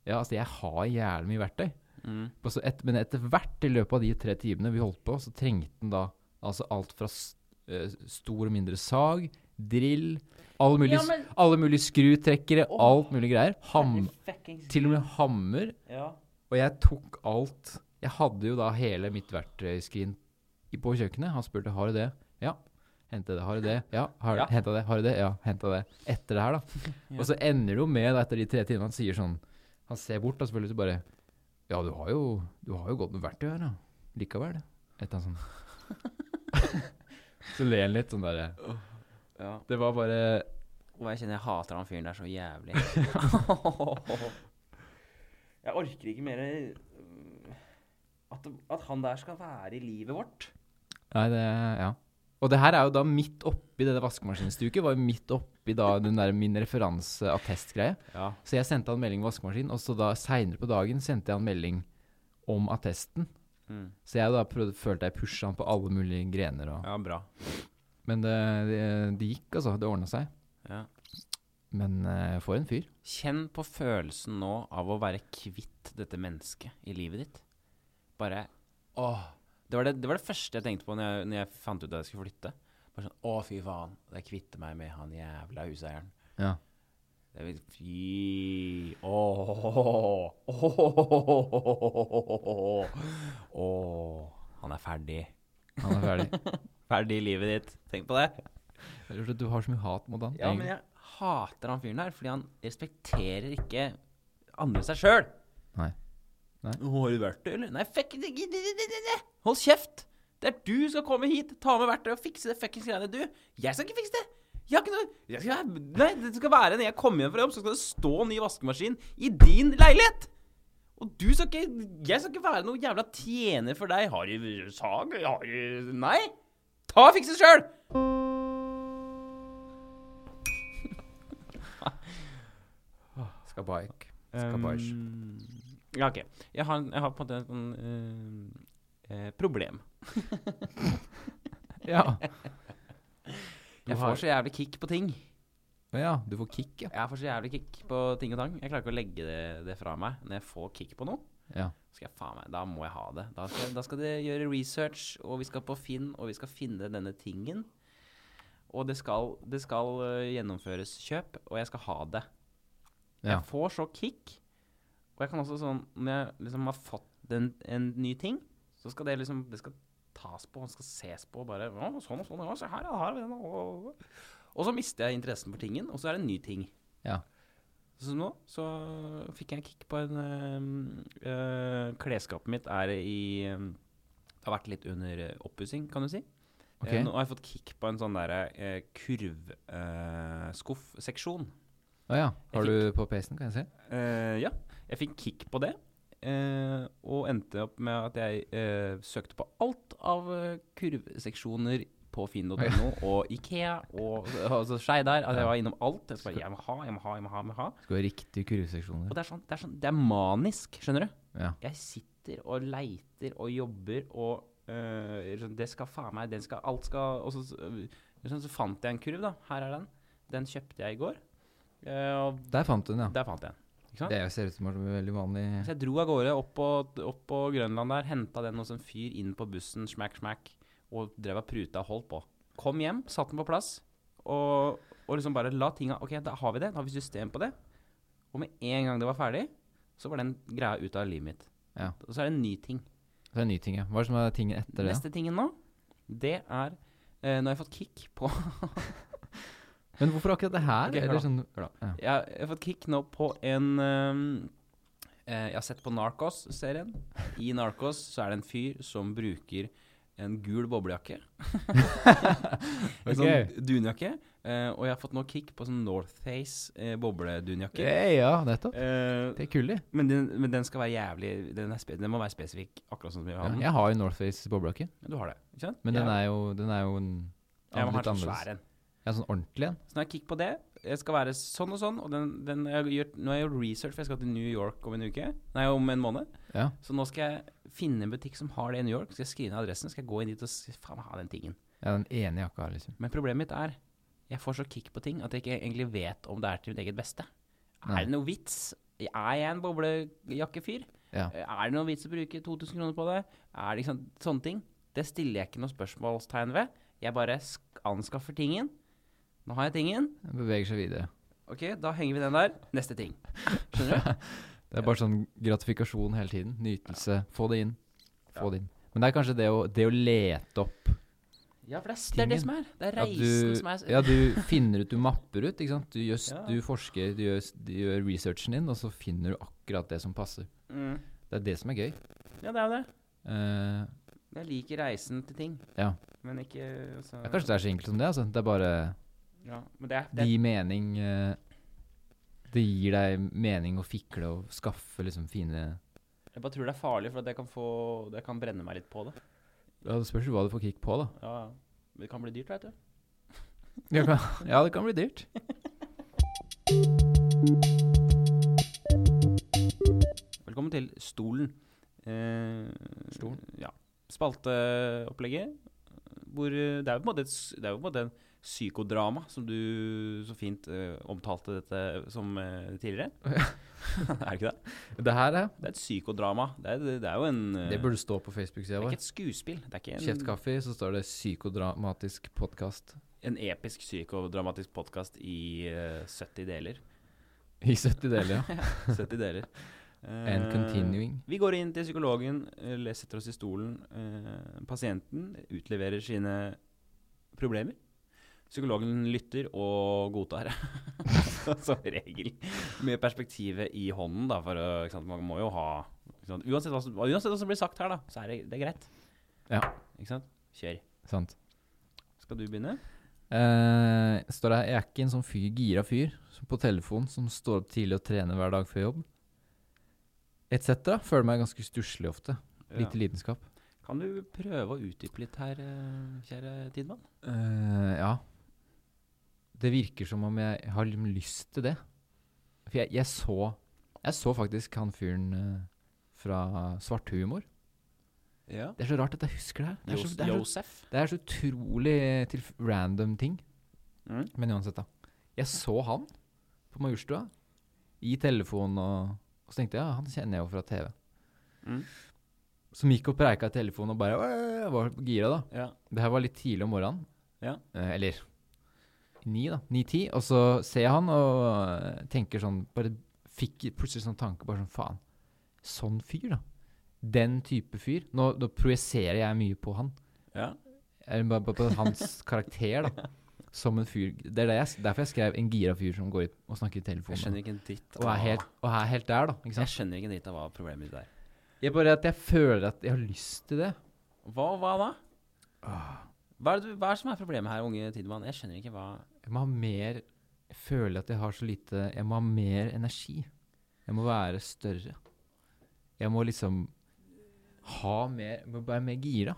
[SPEAKER 1] Ja, altså, jeg har jævlig mye verktøy.
[SPEAKER 2] Mm.
[SPEAKER 1] Og så et, men etter hvert i løpet av de tre timene vi holdt på, så trengte den da altså alt fra s- eh, stor og mindre sag, drill, alle mulige,
[SPEAKER 2] Ja, men-
[SPEAKER 1] alle mulige skrutrekkere, alt mulig greier. Ham,
[SPEAKER 2] Fuckings.
[SPEAKER 1] til og med hammer.
[SPEAKER 2] Ja.
[SPEAKER 1] Og jeg tok alt Jeg hadde jo da hele mitt verktøyskrin i- på kjøkkenet. Han spurte har du det. Ja. Henta det, har du det? Ja. Har,
[SPEAKER 2] Ja.
[SPEAKER 1] Henta det, har du det? Ja. Henta det. Etter det her, da.
[SPEAKER 2] Ja.
[SPEAKER 1] Og så ender det jo med, da, etter de tre timene, han sier sånn Han ser bort da selvfølgelig så bare Ja, du har jo, du har jo godt med verktøy her, da. Likevel. Et eller annet sånt. så ler han litt sånn derre
[SPEAKER 2] ja.
[SPEAKER 1] Det var bare
[SPEAKER 2] Og jeg kjenner jeg hater han fyren der så jævlig. jeg orker ikke mer øh, at, at han der skal være i livet vårt.
[SPEAKER 1] Nei, det Ja. Og det her er jo da midt oppi det der vaskemaskinstuket. Var jo midt oppi da den der min referanseattestgreie.
[SPEAKER 2] Ja.
[SPEAKER 1] Så jeg sendte han melding om vaskemaskinen, og så da seinere på dagen sendte jeg han melding om attesten.
[SPEAKER 2] Mm.
[SPEAKER 1] Så jeg da prøvde, følte jeg pusha han på alle mulige grener og
[SPEAKER 2] ja, bra.
[SPEAKER 1] Men det, det, det gikk, altså. Det ordna seg.
[SPEAKER 2] Ja.
[SPEAKER 1] Men eh, for en fyr.
[SPEAKER 2] Kjenn på følelsen nå av å være kvitt dette mennesket i livet ditt. Bare Åh. Det var det, det var det første jeg tenkte på når jeg, når jeg fant ut at jeg skulle flytte. Bare sånn, Å, fy faen. Jeg kvitter meg med han jævla huseieren.
[SPEAKER 1] Ja.
[SPEAKER 2] Det vil, fy Åh. Åh. Åh. Han er ferdig.
[SPEAKER 1] Han er ferdig.
[SPEAKER 2] Ferdig i livet ditt. Tenk på det.
[SPEAKER 1] Jeg lurer på, Du har så mye hat mot han.
[SPEAKER 2] Ja, men
[SPEAKER 1] egentlig.
[SPEAKER 2] jeg hater han fyren her, fordi han respekterer ikke andre enn seg sjøl.
[SPEAKER 1] Nei. Nei.
[SPEAKER 2] Har du verktøy, eller? Nei, fuck det- det- det- det- det- det. Hold kjeft! Det er du som skal komme hit, ta med verktøy og fikse det fuckings greiene, du. Jeg skal ikke fikse det! Jeg har ikke noe jeg skal, Nei, det skal være når jeg kommer hjem fra jobb, så skal det stå ny vaskemaskin i din leilighet! Og du skal ikke Jeg skal ikke være noe jævla tjener for deg. Har du sag? Har du Nei! Ta og fiks det sjøl!
[SPEAKER 1] Skabaik. Skabaik.
[SPEAKER 2] Um, ja, ok. Jeg har, jeg har på en måte et sånn, eh, eh, problem.
[SPEAKER 1] Ja.
[SPEAKER 2] Jeg
[SPEAKER 1] har-
[SPEAKER 2] får så jævlig kick på ting.
[SPEAKER 1] ja. Du får kick, ja.
[SPEAKER 2] Jeg får så jævlig kick på ting og tang. Jeg klarer ikke å legge det, det fra meg. Når jeg får kick på noe,
[SPEAKER 1] ja.
[SPEAKER 2] skal jeg faen meg, da må jeg ha det. Da skal, da skal det gjøre research, og vi skal på Finn, og vi skal finne denne tingen. Og det skal, det skal eh, gjennomføres kjøp, og jeg skal ha det.
[SPEAKER 1] Ja.
[SPEAKER 2] Jeg får så kick. Og jeg kan også sånn Når jeg liksom har fått en, en ny ting, så skal det liksom Det skal tas på, og skal ses på, og bare «Å, Sånn og sånn, ja, se her, ja, her er den, og- og- og». Og så mister jeg interessen for tingen, og så er det en ny ting.
[SPEAKER 1] Ja.
[SPEAKER 2] Så nå så fikk jeg en kick på en eh, eh, Klesskapet mitt er i eh, Det har vært litt under eh, oppussing, kan du si.
[SPEAKER 1] Ok.
[SPEAKER 2] Eh, nå har jeg fått kick på en sånn derre uh, eh, kurvskuffseksjon.
[SPEAKER 1] Å ja.
[SPEAKER 2] Jeg
[SPEAKER 1] Har du på PC-en, kan jeg se?
[SPEAKER 2] Eh, ja, jeg fikk kick på det. eh, og endte opp med at jeg eh, søkte på alt av eh, kurvseksjoner på finn.no og Ikea og altså, Skeidar. Altså, jeg var innom alt. Jeg, skal bare, jeg må ha, jeg må ha, jeg må ha. Jeg må ha.
[SPEAKER 1] Skal ha riktige kurveseksjoner.
[SPEAKER 2] Og det er, sånn, det, er sånn, det er manisk, skjønner du?
[SPEAKER 1] Ja.
[SPEAKER 2] Jeg sitter og leiter og jobber og øh, sånn, Det skal faen meg den skal, Alt skal Og så, øh, sånn, så fant jeg en kurv, da. Her er den. Den kjøpte jeg i går. Eh, og
[SPEAKER 1] Der fant du den, ja.
[SPEAKER 2] der fant jeg den. Ikke sant?
[SPEAKER 1] Det ser ut som en veldig vanlig
[SPEAKER 2] Så jeg dro av gårde opp på, opp på Grønland der, henta den hos en fyr inn på bussen, smack, smack, og drev og pruta og holdt på. Kom hjem, satt den på plass, og, og liksom bare la tinga OK, da har vi det. Da har vi system på det. Og med en gang det var ferdig, så var den greia ute av livet mitt.
[SPEAKER 1] Ja.
[SPEAKER 2] Og så er det en ny ting.
[SPEAKER 1] Det er en ny ting, ja. Hva er det som er tingen etter det?
[SPEAKER 2] Neste tingen nå, det er eh, Nå har jeg fått kick på
[SPEAKER 1] da? Men hvorfor akkurat det her? sånn-
[SPEAKER 2] Ok, hør
[SPEAKER 1] Eller
[SPEAKER 2] da.
[SPEAKER 1] sånn,
[SPEAKER 2] Jeg har jeg har fått kick nå på en øhm, ehm, Eh, jeg har sett på Narcos-serien. I Narcos så er det en fyr som bruker en gul boblejakke. en
[SPEAKER 1] Ok.
[SPEAKER 2] sånn dunjakke. Eh, og jeg har fått noe kick på sånn Northface eh, bobledunjakke.
[SPEAKER 1] Eh, ja, nettopp.
[SPEAKER 2] Eh,
[SPEAKER 1] Det er kult, det.
[SPEAKER 2] men, den, men den skal være jævlig Den, er spe den må være spesifikk, akkurat sånn som vi
[SPEAKER 1] Ja,
[SPEAKER 2] har den.
[SPEAKER 1] jeg har jo Northface boblejakke,
[SPEAKER 2] Du har det, ikke sant?
[SPEAKER 1] men den
[SPEAKER 2] Jeg-
[SPEAKER 1] er jo, den er jo en
[SPEAKER 2] jeg må ha
[SPEAKER 1] litt
[SPEAKER 2] en sånn
[SPEAKER 1] annerledes.
[SPEAKER 2] svær en.
[SPEAKER 1] Ja, sånn ordentlig en.
[SPEAKER 2] Så nå har jeg kick på det. Jeg skal være sånn og sånn. Og den, den jeg gjør, nå har jeg gjort research, for jeg skal til New York om en uke. Nei, om en måned.
[SPEAKER 1] Ja.
[SPEAKER 2] Så nå skal jeg finne en butikk som har det i New York. Skal jeg skrive ned adressen, skal jeg gå inn dit og s- faen ha den tingen.
[SPEAKER 1] ja, den ene jakka, liksom.
[SPEAKER 2] Men problemet mitt er jeg får så kick på ting at jeg ikke egentlig vet om det er til mitt eget beste.
[SPEAKER 1] Nei.
[SPEAKER 2] Er det noe vits? Er jeg en boblejakkefyr?
[SPEAKER 1] Ja.
[SPEAKER 2] Er det noe vits å bruke 2000 kroner på det? Er det ikke sant, Sånne ting. Det stiller jeg ikke noe spørsmålstegn ved. Jeg bare sk- anskaffer tingen. Nå har jeg tingen.
[SPEAKER 1] Den beveger seg videre.
[SPEAKER 2] Ok, da henger vi den der. Neste ting. Skjønner du?
[SPEAKER 1] Det er bare sånn gratifikasjon hele tiden. Nytelse. Få det inn. Få det inn. Men det er kanskje det å, det å lete opp
[SPEAKER 2] Ja, for det er, det er det som er. Det er
[SPEAKER 1] at
[SPEAKER 2] reisen
[SPEAKER 1] du,
[SPEAKER 2] som er
[SPEAKER 1] ja, du finner ut, du mapper ut. ikke sant? Du, gjør, s-
[SPEAKER 2] Ja.
[SPEAKER 1] du forsker, du gjør, s- du gjør researchen din, og så finner du akkurat det som passer.
[SPEAKER 2] mm.
[SPEAKER 1] Det er det som er gøy.
[SPEAKER 2] Ja, det er jo det.
[SPEAKER 1] Eh,
[SPEAKER 2] Jeg liker reisen til ting.
[SPEAKER 1] Ja.
[SPEAKER 2] Men ikke altså,
[SPEAKER 1] ja, kanskje det er så enkelt som det. altså. Det er bare
[SPEAKER 2] ja, men det, er-
[SPEAKER 1] Det
[SPEAKER 2] det,
[SPEAKER 1] gir mening eh, Det gir deg mening å fikle og skaffe liksom fine
[SPEAKER 2] Jeg bare tror det er farlig, for at jeg kan, få, jeg kan brenne meg litt på det.
[SPEAKER 1] Ja, Det spørs jo hva du får kick på, da.
[SPEAKER 2] Ja, ja. Men Det kan bli dyrt, vet du.
[SPEAKER 1] Ja, kan, ja, det kan bli dyrt.
[SPEAKER 2] Velkommen til Stolen. Eh,
[SPEAKER 1] Stolen?
[SPEAKER 2] Ja. Spalteopplegget. Hvor eh, det er jo på en måte et, s- det er jo på en måte en psykodrama, som du så fint eh, omtalte dette som eh, tidligere. er det ikke det?
[SPEAKER 1] Det her er
[SPEAKER 2] Det er et psykodrama. Det er, det er jo en eh,
[SPEAKER 1] Det burde stå på Facebook-sida
[SPEAKER 2] det er
[SPEAKER 1] vår.
[SPEAKER 2] ikke et skuespill. Det er ikke en,
[SPEAKER 1] Kjeft kaffe, så står det 'psykodramatisk podkast'
[SPEAKER 2] en episk psykodramatisk podkast i eh, 70 deler.
[SPEAKER 1] i 70 deler. ja.
[SPEAKER 2] 70 deler.
[SPEAKER 1] And
[SPEAKER 2] Eh,
[SPEAKER 1] continuing.
[SPEAKER 2] Vi går inn til psykologen, eh, le- setter oss i stolen. eh, Pasienten utleverer sine problemer. Psykologen lytter og godtar, som regel. Med perspektivet i hånden, da, for å, ikke sant, man må jo ha ikke sant, uansett, hva som, uansett hva som blir sagt her, da, så er det, det er greit.
[SPEAKER 1] Ja.
[SPEAKER 2] Ikke sant? Kjør.
[SPEAKER 1] Sant.
[SPEAKER 2] Skal du begynne?
[SPEAKER 1] Eh, står det her, Jeg er ikke en sånn fyr, gira fyr som på telefon som står opp tidlig og trener hver dag før jobb. Etc. Føler meg ganske stusslig ofte.
[SPEAKER 2] Ja.
[SPEAKER 1] Lite lidenskap.
[SPEAKER 2] Kan du prøve å utdype litt her, eh, kjære Tidmann?
[SPEAKER 1] Eh, ja. Det virker som om jeg har liksom lyst til det. For jeg, jeg så Jeg så faktisk han fyren eh, fra Svart humor.
[SPEAKER 2] Ja.
[SPEAKER 1] Det er så rart at jeg husker det her. Det er så, det er så
[SPEAKER 2] Josef.
[SPEAKER 1] Det er så utrolig til random ting.
[SPEAKER 2] Mm.
[SPEAKER 1] Men uansett, da. Jeg så han på Majorstua. I telefonen og Og så tenkte jeg ja, han kjenner jeg jo fra TV.
[SPEAKER 2] Mm.
[SPEAKER 1] Som gikk og preika i telefonen og bare «Åh», var gira, da.
[SPEAKER 2] Ja.
[SPEAKER 1] Det her var litt tidlig om morgenen.
[SPEAKER 2] Ja.
[SPEAKER 1] Eh, eller ni, da. Ni-ti. Og så ser jeg han og eh, tenker sånn Bare fikk plutselig sånn tanke, bare sånn faen. Sånn fyr, da. Den type fyr. Nå, nå projiserer jeg mye på han.
[SPEAKER 2] ja.
[SPEAKER 1] Eller bare på- på hans karakter, da. Som en fyr Det er det jeg, derfor jeg skrev en gira fyr som går i, og snakker i
[SPEAKER 2] Jeg
[SPEAKER 1] telefonen.
[SPEAKER 2] skjønner ikke en dritt
[SPEAKER 1] Og er, helt, og er helt der, da. Ikke
[SPEAKER 2] Jeg
[SPEAKER 1] sant?
[SPEAKER 2] skjønner ikke en dritt av hva problemet ditt er.
[SPEAKER 1] Jeg bare at jeg føler at jeg har lyst til det.
[SPEAKER 2] Hva, hva da? Ah. Hva er, det, du- hva er det som er problemet her, unge Tidemann? Jeg skjønner ikke hva
[SPEAKER 1] Jeg må ha mer Jeg føler at jeg har så lite Jeg må ha mer energi. Jeg må være større. Jeg må liksom ha mer Jeg må være mer gira.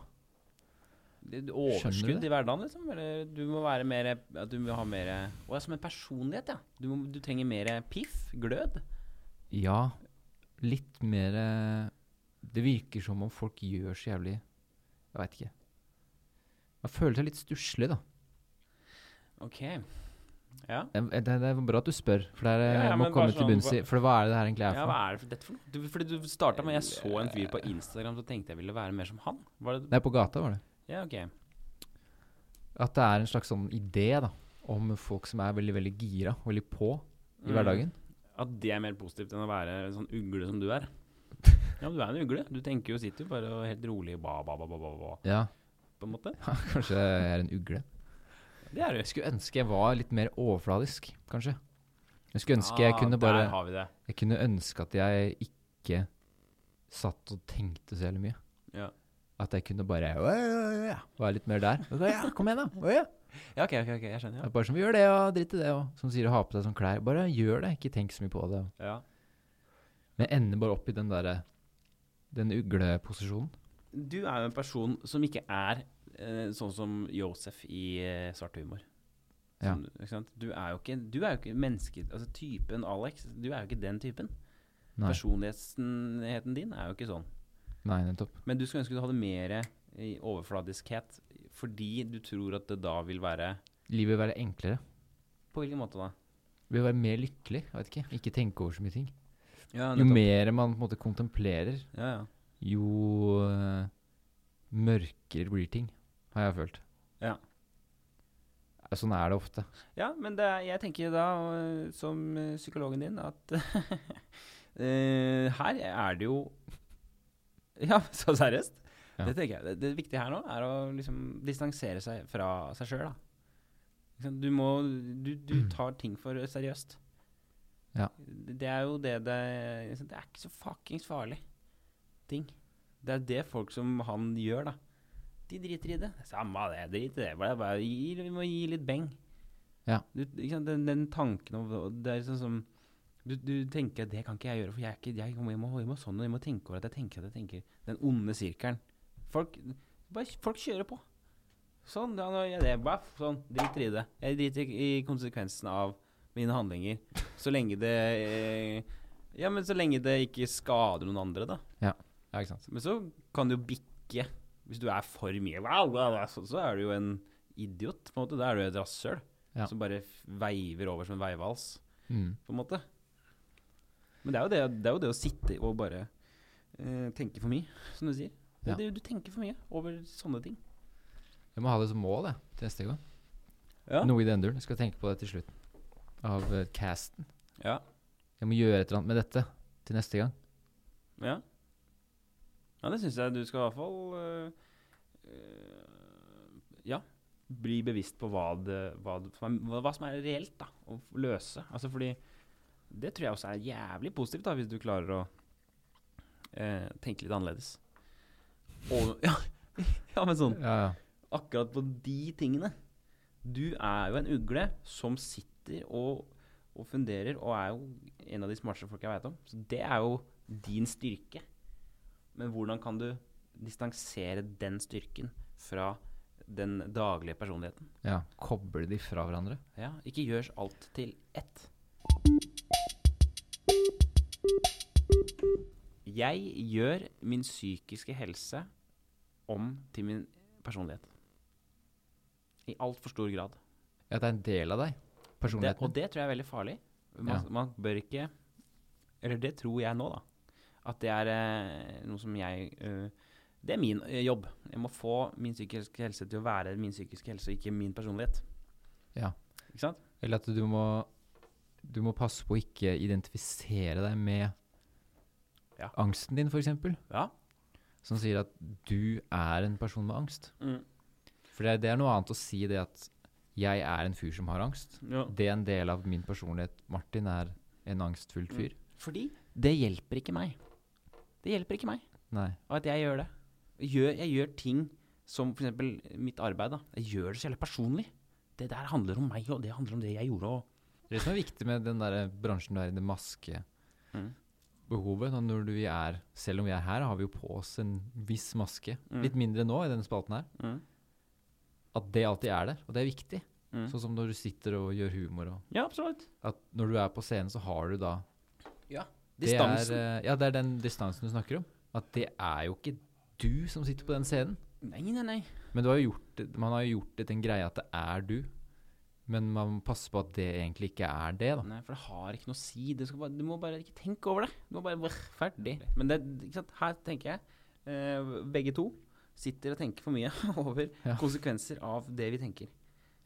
[SPEAKER 2] det- det
[SPEAKER 1] Skjønner du
[SPEAKER 2] Overskudd
[SPEAKER 1] det?
[SPEAKER 2] i hverdagen, liksom? Eller du må være mer at Du må ha mer Å ja, som en personlighet, ja. Du, må, du trenger mer piff? Glød?
[SPEAKER 1] Ja, litt mer eh, Det virker som om folk gjør så jævlig Jeg veit ikke. Man føler seg litt stusslig, da.
[SPEAKER 2] OK. Ja.
[SPEAKER 1] Det, det, det er bra at du spør, for det er,
[SPEAKER 2] Ja, ja,
[SPEAKER 1] jeg må
[SPEAKER 2] men
[SPEAKER 1] komme
[SPEAKER 2] bare
[SPEAKER 1] til
[SPEAKER 2] sånn,
[SPEAKER 1] bunns i For hva er det det her egentlig er
[SPEAKER 2] ja,
[SPEAKER 1] for? noe?
[SPEAKER 2] hva er det for dette for noe? Du, fordi du starta med 'jeg så en fyr på Instagram', så tenkte jeg ville være mer som han. Var det
[SPEAKER 1] det er på gata, var det.
[SPEAKER 2] Ja, OK.
[SPEAKER 1] At det er en slags sånn idé da om folk som er veldig veldig gira, veldig på i
[SPEAKER 2] Mm.
[SPEAKER 1] hverdagen.
[SPEAKER 2] At det er mer positivt enn å være en sånn ugle som du er. Ja, men du er en ugle. Du tenker jo, sitter jo bare og helt rolig ba, ba, ba, ba, ba, ba,
[SPEAKER 1] Ja,
[SPEAKER 2] på en måte.
[SPEAKER 1] kanskje jeg er en ugle.
[SPEAKER 2] Det er du.
[SPEAKER 1] Jeg skulle ønske jeg var litt mer overfladisk, kanskje. Jeg skulle ønske jeg kunne
[SPEAKER 2] Ah, Der
[SPEAKER 1] bare
[SPEAKER 2] har vi det.
[SPEAKER 1] Jeg kunne ønske at jeg ikke ikke satt og tenkte så jævlig mye.
[SPEAKER 2] Ja.
[SPEAKER 1] At jeg kunne bare være litt mer der. Ja, kom igjen, da. Ja.
[SPEAKER 2] Ja, OK, ok, ok, jeg skjønner.
[SPEAKER 1] Det er Bare som gjør det, og drit i det, og som sier å ha på deg sånne klær. Bare gjør det, ikke tenk så mye på det.
[SPEAKER 2] Ja. ja.
[SPEAKER 1] Men jeg ender bare opp i den derre den ugleposisjonen.
[SPEAKER 2] Du er jo en person som ikke er eh, sånn som Josef i eh, Svart humor. Som, ikke sant? Du er jo ikke, du er jo ikke menneske, altså typen Alex. Du er jo ikke den typen.
[SPEAKER 1] Nei.
[SPEAKER 2] Personligheten din er jo ikke sånn.
[SPEAKER 1] Nei, nettopp.
[SPEAKER 2] Men du skulle ønske du hadde mer i overfladiskhet fordi du tror at det da vil være
[SPEAKER 1] Livet vil være enklere.
[SPEAKER 2] På hvilken måte da?
[SPEAKER 1] Vil være mer lykkelig. Jeg vet ikke. Ikke tenke over så mye ting.
[SPEAKER 2] Ja,
[SPEAKER 1] Jo mer man på en måte kontemplerer,
[SPEAKER 2] Ja, ja.
[SPEAKER 1] jo eh, mørkere blir ting, har jeg følt.
[SPEAKER 2] Ja.
[SPEAKER 1] Sånn er det ofte.
[SPEAKER 2] Ja, men det, er- jeg tenker da, øh, som øh, psykologen din, at øh, her er det jo Ja, så seriøst?
[SPEAKER 1] Ja.
[SPEAKER 2] Det tenker jeg. Det, det viktige her nå er å liksom distansere seg fra seg sjøl, da. Ikke sant? Du må du, du tar ting for seriøst.
[SPEAKER 1] Mm. Ja.
[SPEAKER 2] Det det er jo det det ikke sant? Det er ikke så fuckings farlig, ting. Det er det folk som han gjør, da. De driter i det. Samme av det, drit i det. Bare, bare gi, vi må gi litt beng.
[SPEAKER 1] Ja.
[SPEAKER 2] Du, ikke sant? Den, den tanken om Det er sånn som du, du tenker at det kan ikke jeg gjøre, for jeg, er ikke, jeg, må, jeg, må, jeg må sånn, og jeg må tenke over at jeg tenker at jeg tenker. Den onde sirkelen. Folk, bare, folk kjører på. Sånn, ja, nå gjør jeg det. Baff, sånn, driter i det. Jeg driter i i konsekvensen av mine handlinger. Så lenge det eh, Ja, men så lenge det ikke skader noen andre, da.
[SPEAKER 1] Ja, ikke sant?
[SPEAKER 2] Men så kan det jo bikke. Hvis du er for mye wow, wow, wow, så, så er du jo en idiot, på en måte. Da er du et rasshøl
[SPEAKER 1] Ja.
[SPEAKER 2] som bare f- veiver over som en veivals
[SPEAKER 1] Mm.
[SPEAKER 2] på en måte. Men det er jo det, det, er jo det å sitte og bare eh, tenke for mye, som du sier. Det,
[SPEAKER 1] Ja.
[SPEAKER 2] det, du tenker for mye over sånne ting.
[SPEAKER 1] Jeg må ha det som mål jeg, til neste gang.
[SPEAKER 2] Ja.
[SPEAKER 1] Noe i den duren. Jeg skal tenke på det til slutten av eh, casten.
[SPEAKER 2] Ja.
[SPEAKER 1] Jeg må gjøre et eller annet med dette til neste gang.
[SPEAKER 2] Ja, ja det syns jeg du skal i hvert fall eh, eh, Ja. Bli bevisst på hva, det, hva, det- som er- hva, hva som er reelt da, å f- løse. Altså fordi Det tror jeg også er jævlig positivt, da, hvis du klarer å eh, tenke litt annerledes. Og, ja, ja, men sånn
[SPEAKER 1] Ja, ja.
[SPEAKER 2] akkurat på de tingene. Du er jo en ugle som sitter og, og funderer, og er jo en av de smarteste folk jeg veit om. Så det er jo din styrke. Men hvordan kan du distansere den styrken fra den daglige personligheten?
[SPEAKER 1] ja. Koble de fra hverandre.
[SPEAKER 2] Ja, ikke gjør alt til ett. Jeg gjør min psykiske helse om til min personlighet. I altfor stor grad.
[SPEAKER 1] Ja, det er en del av deg.
[SPEAKER 2] Det,
[SPEAKER 1] Personligheten.
[SPEAKER 2] og det tror jeg er veldig farlig. Man,
[SPEAKER 1] Ja.
[SPEAKER 2] man bør ikke Eller det tror jeg nå, da. At det er eh, noe som jeg eh, Det er min eh, jobb. Jeg må få min psykiske helse til å være min psykiske helse, og ikke min personlighet.
[SPEAKER 1] Ja.
[SPEAKER 2] Ikke sant?
[SPEAKER 1] Eller at du må, du må passe på å ikke identifisere deg med
[SPEAKER 2] Ja.
[SPEAKER 1] angsten din, f.eks.
[SPEAKER 2] Ja.
[SPEAKER 1] Som sier at du er en person med angst.
[SPEAKER 2] Mm.
[SPEAKER 1] For det, det er noe annet å si det at jeg er en fyr som har angst.
[SPEAKER 2] ja.
[SPEAKER 1] Det er en del av min personlighet. Martin er en angstfullt
[SPEAKER 2] Mm.
[SPEAKER 1] fyr.
[SPEAKER 2] Fordi det hjelper ikke meg. Det hjelper ikke meg
[SPEAKER 1] Nei.
[SPEAKER 2] at jeg gjør det. Jeg gjør, jeg gjør ting som f.eks. mitt arbeid. da. Jeg gjør det så jævlig personlig. Det der handler om meg, og det handler om det jeg gjorde. og...
[SPEAKER 1] Det er det som er viktig med den der bransjen der, det
[SPEAKER 2] Mm.
[SPEAKER 1] maskebehovet. da Når vi er, selv om vi er her, har vi jo på oss en viss maske.
[SPEAKER 2] Mm.
[SPEAKER 1] Litt mindre nå i denne spalten her. At det alltid er der, og det er viktig.
[SPEAKER 2] Mm.
[SPEAKER 1] Sånn som når du sitter og gjør humor. Og
[SPEAKER 2] Ja, absolutt.
[SPEAKER 1] at når du er på scenen, så har du da det er,
[SPEAKER 2] Distansen.
[SPEAKER 1] eh, ja, det er den distansen du snakker om. At det er jo ikke du som sitter på den scenen.
[SPEAKER 2] Nei, nei, nei.
[SPEAKER 1] Men du har jo gjort det, man har jo gjort det til en greie at det er du. Men man må passe på at det egentlig ikke er det, da.
[SPEAKER 2] Nei, for det har ikke noe å si. Det skal bare, du må bare ikke tenke over det. Du må bare brr, Ferdig. Men det, ikke sant? her tenker jeg, eh, begge to sitter og tenker for mye over
[SPEAKER 1] Ja.
[SPEAKER 2] konsekvenser av det vi tenker.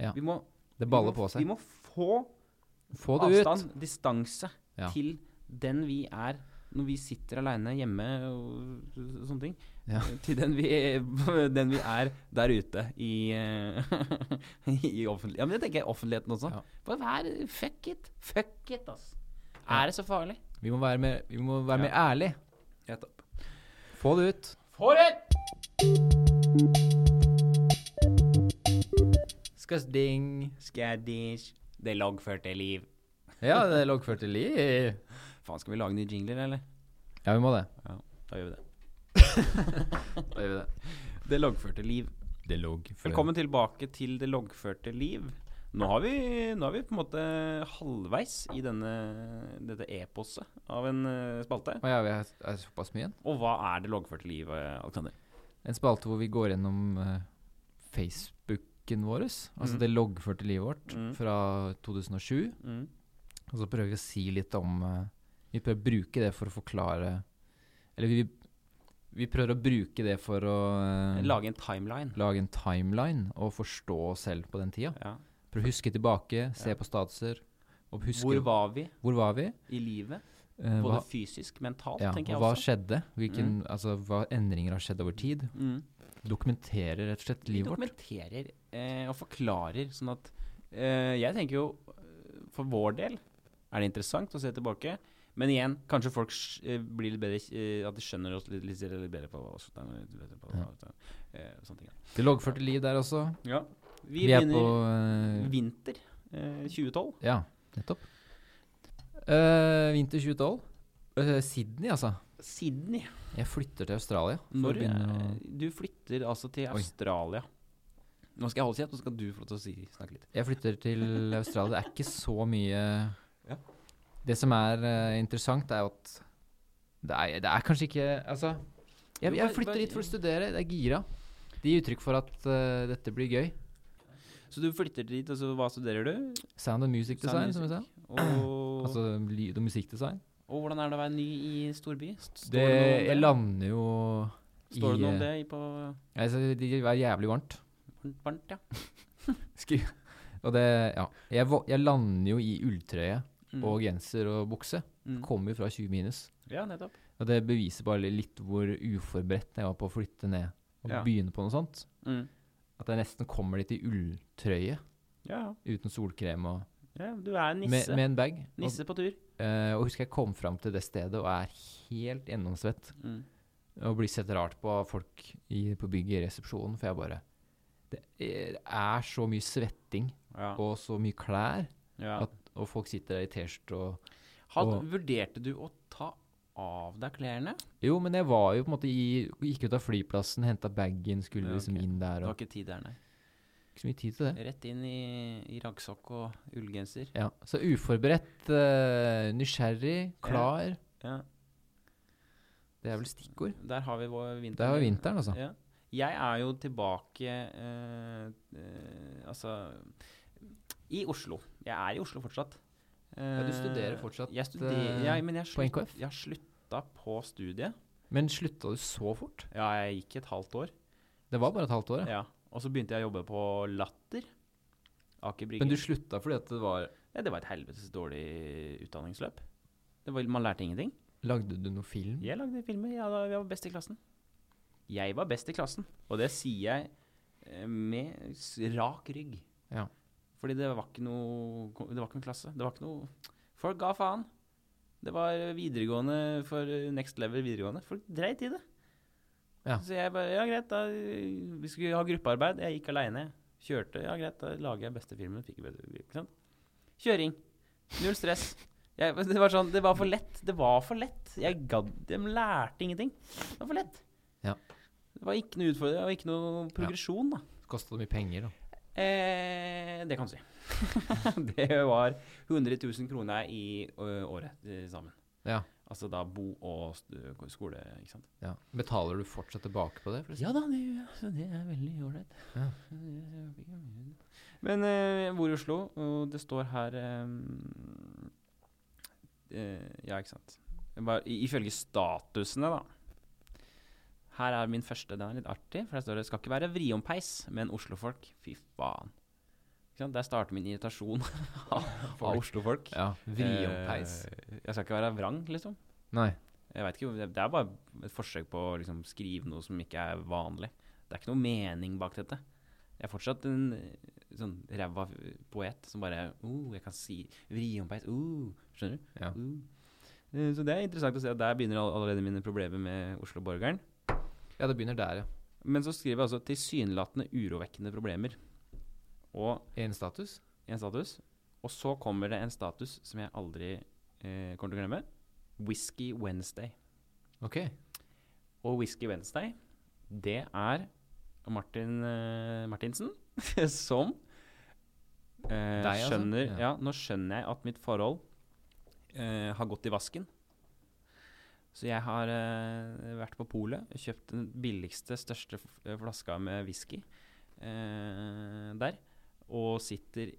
[SPEAKER 1] Ja.
[SPEAKER 2] Vi, må,
[SPEAKER 1] Det
[SPEAKER 2] vi
[SPEAKER 1] baller
[SPEAKER 2] må-
[SPEAKER 1] på seg.
[SPEAKER 2] Vi må få
[SPEAKER 1] Få det ut!
[SPEAKER 2] avstand, distanse,
[SPEAKER 1] Ja.
[SPEAKER 2] til den vi er når vi sitter aleine hjemme og sånne ting,
[SPEAKER 1] Ja.
[SPEAKER 2] til den vi, den vi er der ute i, eh, i offentlig, Ja, men det tenker jeg offentligheten også.
[SPEAKER 1] Ja.
[SPEAKER 2] Bare vær Fuck it! Fuck it, ass. Er det så farlig?
[SPEAKER 1] Vi må være mer, vi må være mer ærlig.
[SPEAKER 2] Nettopp.
[SPEAKER 1] Få det ut.
[SPEAKER 2] For et
[SPEAKER 1] Skadding.
[SPEAKER 2] skaddish! Det loggførte liv.
[SPEAKER 1] Ja, det er loggført til liv.
[SPEAKER 2] Faen, skal vi lage nye jingler, eller?
[SPEAKER 1] Ja, vi må det.
[SPEAKER 2] Da gjør vi det.
[SPEAKER 1] Da gjør vi det.
[SPEAKER 2] Det loggførte liv.
[SPEAKER 1] Det er loggført.
[SPEAKER 2] Velkommen tilbake til det loggførte liv. Nå har vi, nå er vi på en måte halvveis i denne, dette eposet av en eh, spalte.
[SPEAKER 1] Å ja, vi har er såpass mye igjen.
[SPEAKER 2] Og hva er det loggførte liv, eh, Alexander?
[SPEAKER 1] En spalte hvor vi går gjennom eh, Facebooken vår, altså
[SPEAKER 2] Mhm.
[SPEAKER 1] det loggførte livet vårt
[SPEAKER 2] Mhm.
[SPEAKER 1] fra 2007.
[SPEAKER 2] Mm.
[SPEAKER 1] Og så prøver vi å si litt om eh, Vi prøver å bruke det for å forklare Eller vi, vi prøver å bruke det for å eh,
[SPEAKER 2] Lage en timeline.
[SPEAKER 1] lage en timeline og forstå oss selv på den tida.
[SPEAKER 2] Ja.
[SPEAKER 1] Prøve å huske tilbake, se
[SPEAKER 2] Ja.
[SPEAKER 1] på statuser. Og huske
[SPEAKER 2] Hvor var vi
[SPEAKER 1] hvor var vi?
[SPEAKER 2] i livet?
[SPEAKER 1] Eh,
[SPEAKER 2] Både
[SPEAKER 1] hva,
[SPEAKER 2] fysisk, mentalt,
[SPEAKER 1] ja,
[SPEAKER 2] tenker
[SPEAKER 1] og
[SPEAKER 2] jeg
[SPEAKER 1] hva
[SPEAKER 2] også.
[SPEAKER 1] skjedde? Hvilken, altså, hva endringer har skjedd over tid?
[SPEAKER 2] Mm.
[SPEAKER 1] Dokumentere rett og slett
[SPEAKER 2] Vi
[SPEAKER 1] livet vårt.
[SPEAKER 2] dokumenterer eh, og forklarer, sånn at eh, Jeg tenker jo, eh, for vår del er det interessant å se tilbake. Men igjen, kanskje folk sj- eh, blir litt bedre eh, At de skjønner oss litt, litt, litt bedre på oss. da, litt bedre på- eh, sånne ting.
[SPEAKER 1] Det loggførte liv der også.
[SPEAKER 2] da. Vi,
[SPEAKER 1] Vi, er på
[SPEAKER 2] begynner
[SPEAKER 1] eh,
[SPEAKER 2] vinter eh, 2012.
[SPEAKER 1] Ja, nettopp. Eh, vinter 2012. Eh, Sydney, altså.
[SPEAKER 2] Sydney.
[SPEAKER 1] Jeg flytter til Australia. for å
[SPEAKER 2] Når
[SPEAKER 1] begynne å-
[SPEAKER 2] eh, Du flytter altså til
[SPEAKER 1] Oi.
[SPEAKER 2] Australia. Nå skal jeg holde kjeft, så skal du få lov til å si, snakke litt.
[SPEAKER 1] Jeg flytter til Australia. Det er ikke så mye
[SPEAKER 2] Ja.
[SPEAKER 1] Det som er eh, interessant, er jo at det er, det er kanskje ikke Altså, jeg,
[SPEAKER 2] Jo,
[SPEAKER 1] jeg
[SPEAKER 2] bare-
[SPEAKER 1] flytter
[SPEAKER 2] bare-
[SPEAKER 1] dit for å studere. Det er gira. Det gir uttrykk for at eh, dette blir gøy.
[SPEAKER 2] Så du flytter dit, og så hva studerer du?
[SPEAKER 1] Sound and music
[SPEAKER 2] Sound
[SPEAKER 1] design, som vi sa.
[SPEAKER 2] Og
[SPEAKER 1] Altså lyd- og musikkdesign.
[SPEAKER 2] Og hvordan er det å være ny i storby? S- Står
[SPEAKER 1] Det,
[SPEAKER 2] noe om
[SPEAKER 1] jeg
[SPEAKER 2] det?
[SPEAKER 1] lander jo i
[SPEAKER 2] Står det noe om
[SPEAKER 1] eh,
[SPEAKER 2] det i på
[SPEAKER 1] altså, Det vil være jævlig varmt.
[SPEAKER 2] varmt, ja?
[SPEAKER 1] Skri- Og det, ja. Jeg, vo- jeg lander jo i ulltrøye
[SPEAKER 2] Mm.
[SPEAKER 1] og genser og bukse.
[SPEAKER 2] Mm.
[SPEAKER 1] Kommer fra 20 minus.
[SPEAKER 2] Ja, nettopp.
[SPEAKER 1] Og det beviser bare litt hvor uforberedt jeg var på å flytte ned og
[SPEAKER 2] Ja.
[SPEAKER 1] begynne på noe sånt.
[SPEAKER 2] Mm.
[SPEAKER 1] At jeg nesten kommer dit i ulltrøye
[SPEAKER 2] Ja, ja.
[SPEAKER 1] uten solkrem og
[SPEAKER 2] ja, du er
[SPEAKER 1] med,
[SPEAKER 2] nisse.
[SPEAKER 1] med en bag. Og,
[SPEAKER 2] Nisse på tur.
[SPEAKER 1] eh, og husker jeg kom fram til det stedet og er helt gjennomsvett
[SPEAKER 2] Mm.
[SPEAKER 1] og blir sett rart på av folk i, på bygget i resepsjonen, for jeg bare Det er- er så mye svetting
[SPEAKER 2] Ja.
[SPEAKER 1] og så mye klær.
[SPEAKER 2] ja.
[SPEAKER 1] at- Og folk sitter der i T-skjorte og
[SPEAKER 2] Had,
[SPEAKER 1] og-
[SPEAKER 2] vurderte du å ta av deg klærne?
[SPEAKER 1] Jo, men jeg var jo på en måte i Gikk ut av flyplassen, henta bagen, skulle
[SPEAKER 2] Ja,
[SPEAKER 1] liksom
[SPEAKER 2] ok.
[SPEAKER 1] inn der.
[SPEAKER 2] Du har
[SPEAKER 1] Og,
[SPEAKER 2] ikke tid der, nei.
[SPEAKER 1] ikke så mye tid til det.
[SPEAKER 2] Rett inn i, i raggsokk og ullgenser.
[SPEAKER 1] Ja, Så uforberedt, eh, nysgjerrig, klar.
[SPEAKER 2] Ja.
[SPEAKER 1] Det er vel stikkord.
[SPEAKER 2] Der har vi vår vinter.
[SPEAKER 1] Det er jo vinteren, altså.
[SPEAKER 2] Ja. Jeg er jo tilbake eh, eh, Altså I Oslo. Jeg er i Oslo fortsatt.
[SPEAKER 1] Ja, du
[SPEAKER 2] Eh,
[SPEAKER 1] studerer fortsatt,
[SPEAKER 2] Jeg studerer,
[SPEAKER 1] eh,
[SPEAKER 2] ja, men jeg
[SPEAKER 1] på
[SPEAKER 2] slutt-
[SPEAKER 1] NKF?
[SPEAKER 2] Jeg har slutta på studiet.
[SPEAKER 1] Men slutta du så fort?
[SPEAKER 2] Ja, jeg gikk et halvt år.
[SPEAKER 1] Det var bare et halvt år.
[SPEAKER 2] Ja.
[SPEAKER 1] Ja.
[SPEAKER 2] Og så begynte jeg å jobbe på Latter. Aker Brygge.
[SPEAKER 1] Men du slutta fordi at det var
[SPEAKER 2] ja, det var et helvetes dårlig utdanningsløp. Det var, man lærte ingenting.
[SPEAKER 1] Lagde du noe film?
[SPEAKER 2] Jeg lagde filmer. Jeg, da, jeg var best i klassen. Jeg var best i klassen, og det sier jeg eh, med s- rak rygg.
[SPEAKER 1] Ja.
[SPEAKER 2] Fordi det var ikke noe ko- Det var ikke noe klasse. Det var ikke noe Folk ga faen. Det var videregående for eh, next level videregående. Folk dreit i det.
[SPEAKER 1] Ja.
[SPEAKER 2] Så jeg bare Ja, greit, da eh, Vi skulle ha gruppearbeid. Jeg gikk aleine. Kjørte. Ja, greit, da lager jeg beste filmen. Fikk bedre, ikke sant? Kjøring. Null stress. Jeg, det var sånn Det var for lett. Det var for lett. Jeg gadd De lærte ingenting. Det var for lett.
[SPEAKER 1] Ja.
[SPEAKER 2] Det var ikke noe utfordring. Det var ikke noe progresjon, da.
[SPEAKER 1] Kosta det mye penger? da?
[SPEAKER 2] Eh, det kan du si. det var 100 000 kroner i ø, året til sammen.
[SPEAKER 1] Ja.
[SPEAKER 2] Altså da bo og st- skole, ikke sant.
[SPEAKER 1] ja. Betaler du fortsatt tilbake på det? forresten?
[SPEAKER 2] Ja da, det, så det er veldig ålreit.
[SPEAKER 1] Ja.
[SPEAKER 2] Men eh, jeg bor i Oslo, og det står her eh, eh, Ja, ikke sant. Jeg Bare, i- ifølge statusene, da. Her er min første. Den er litt artig. For der står det 'Skal ikke være vriompeis, men oslofolk'. Fy faen. Ikke sant? Der starter min irritasjon av av oslofolk.
[SPEAKER 1] Ja. Vriompeis.
[SPEAKER 2] Eh, jeg skal ikke være vrang, liksom.
[SPEAKER 1] Nei.
[SPEAKER 2] Jeg vet ikke, hvor- Det det er bare et forsøk på å liksom, skrive noe som ikke er vanlig. Det er ikke noe mening bak dette. Jeg er fortsatt en eh, sånn ræva uh, poet som bare oh, jeg kan si vri om peis. Oh, skjønner du?
[SPEAKER 1] Ja.
[SPEAKER 2] Oh. Eh, Så det er interessant å se at der begynner all- allerede mine problemer med Oslo-borgeren.
[SPEAKER 1] Ja, det begynner der, ja.
[SPEAKER 2] Men så skriver jeg altså tilsynelatende urovekkende problemer. Og
[SPEAKER 1] Én status.
[SPEAKER 2] en status. Og så kommer det en status som jeg aldri eh, kommer til å glemme. Whisky Wednesday.
[SPEAKER 1] OK.
[SPEAKER 2] Og Whisky Wednesday, det er Martin eh, Martinsen som eh,
[SPEAKER 1] altså?
[SPEAKER 2] skjønner
[SPEAKER 1] Ja.
[SPEAKER 2] ja. nå skjønner jeg at mitt forhold eh, har gått i vasken. Så jeg har eh, vært på polet og kjøpt den billigste, største f- eh, flaska med whisky eh, der. Og sitter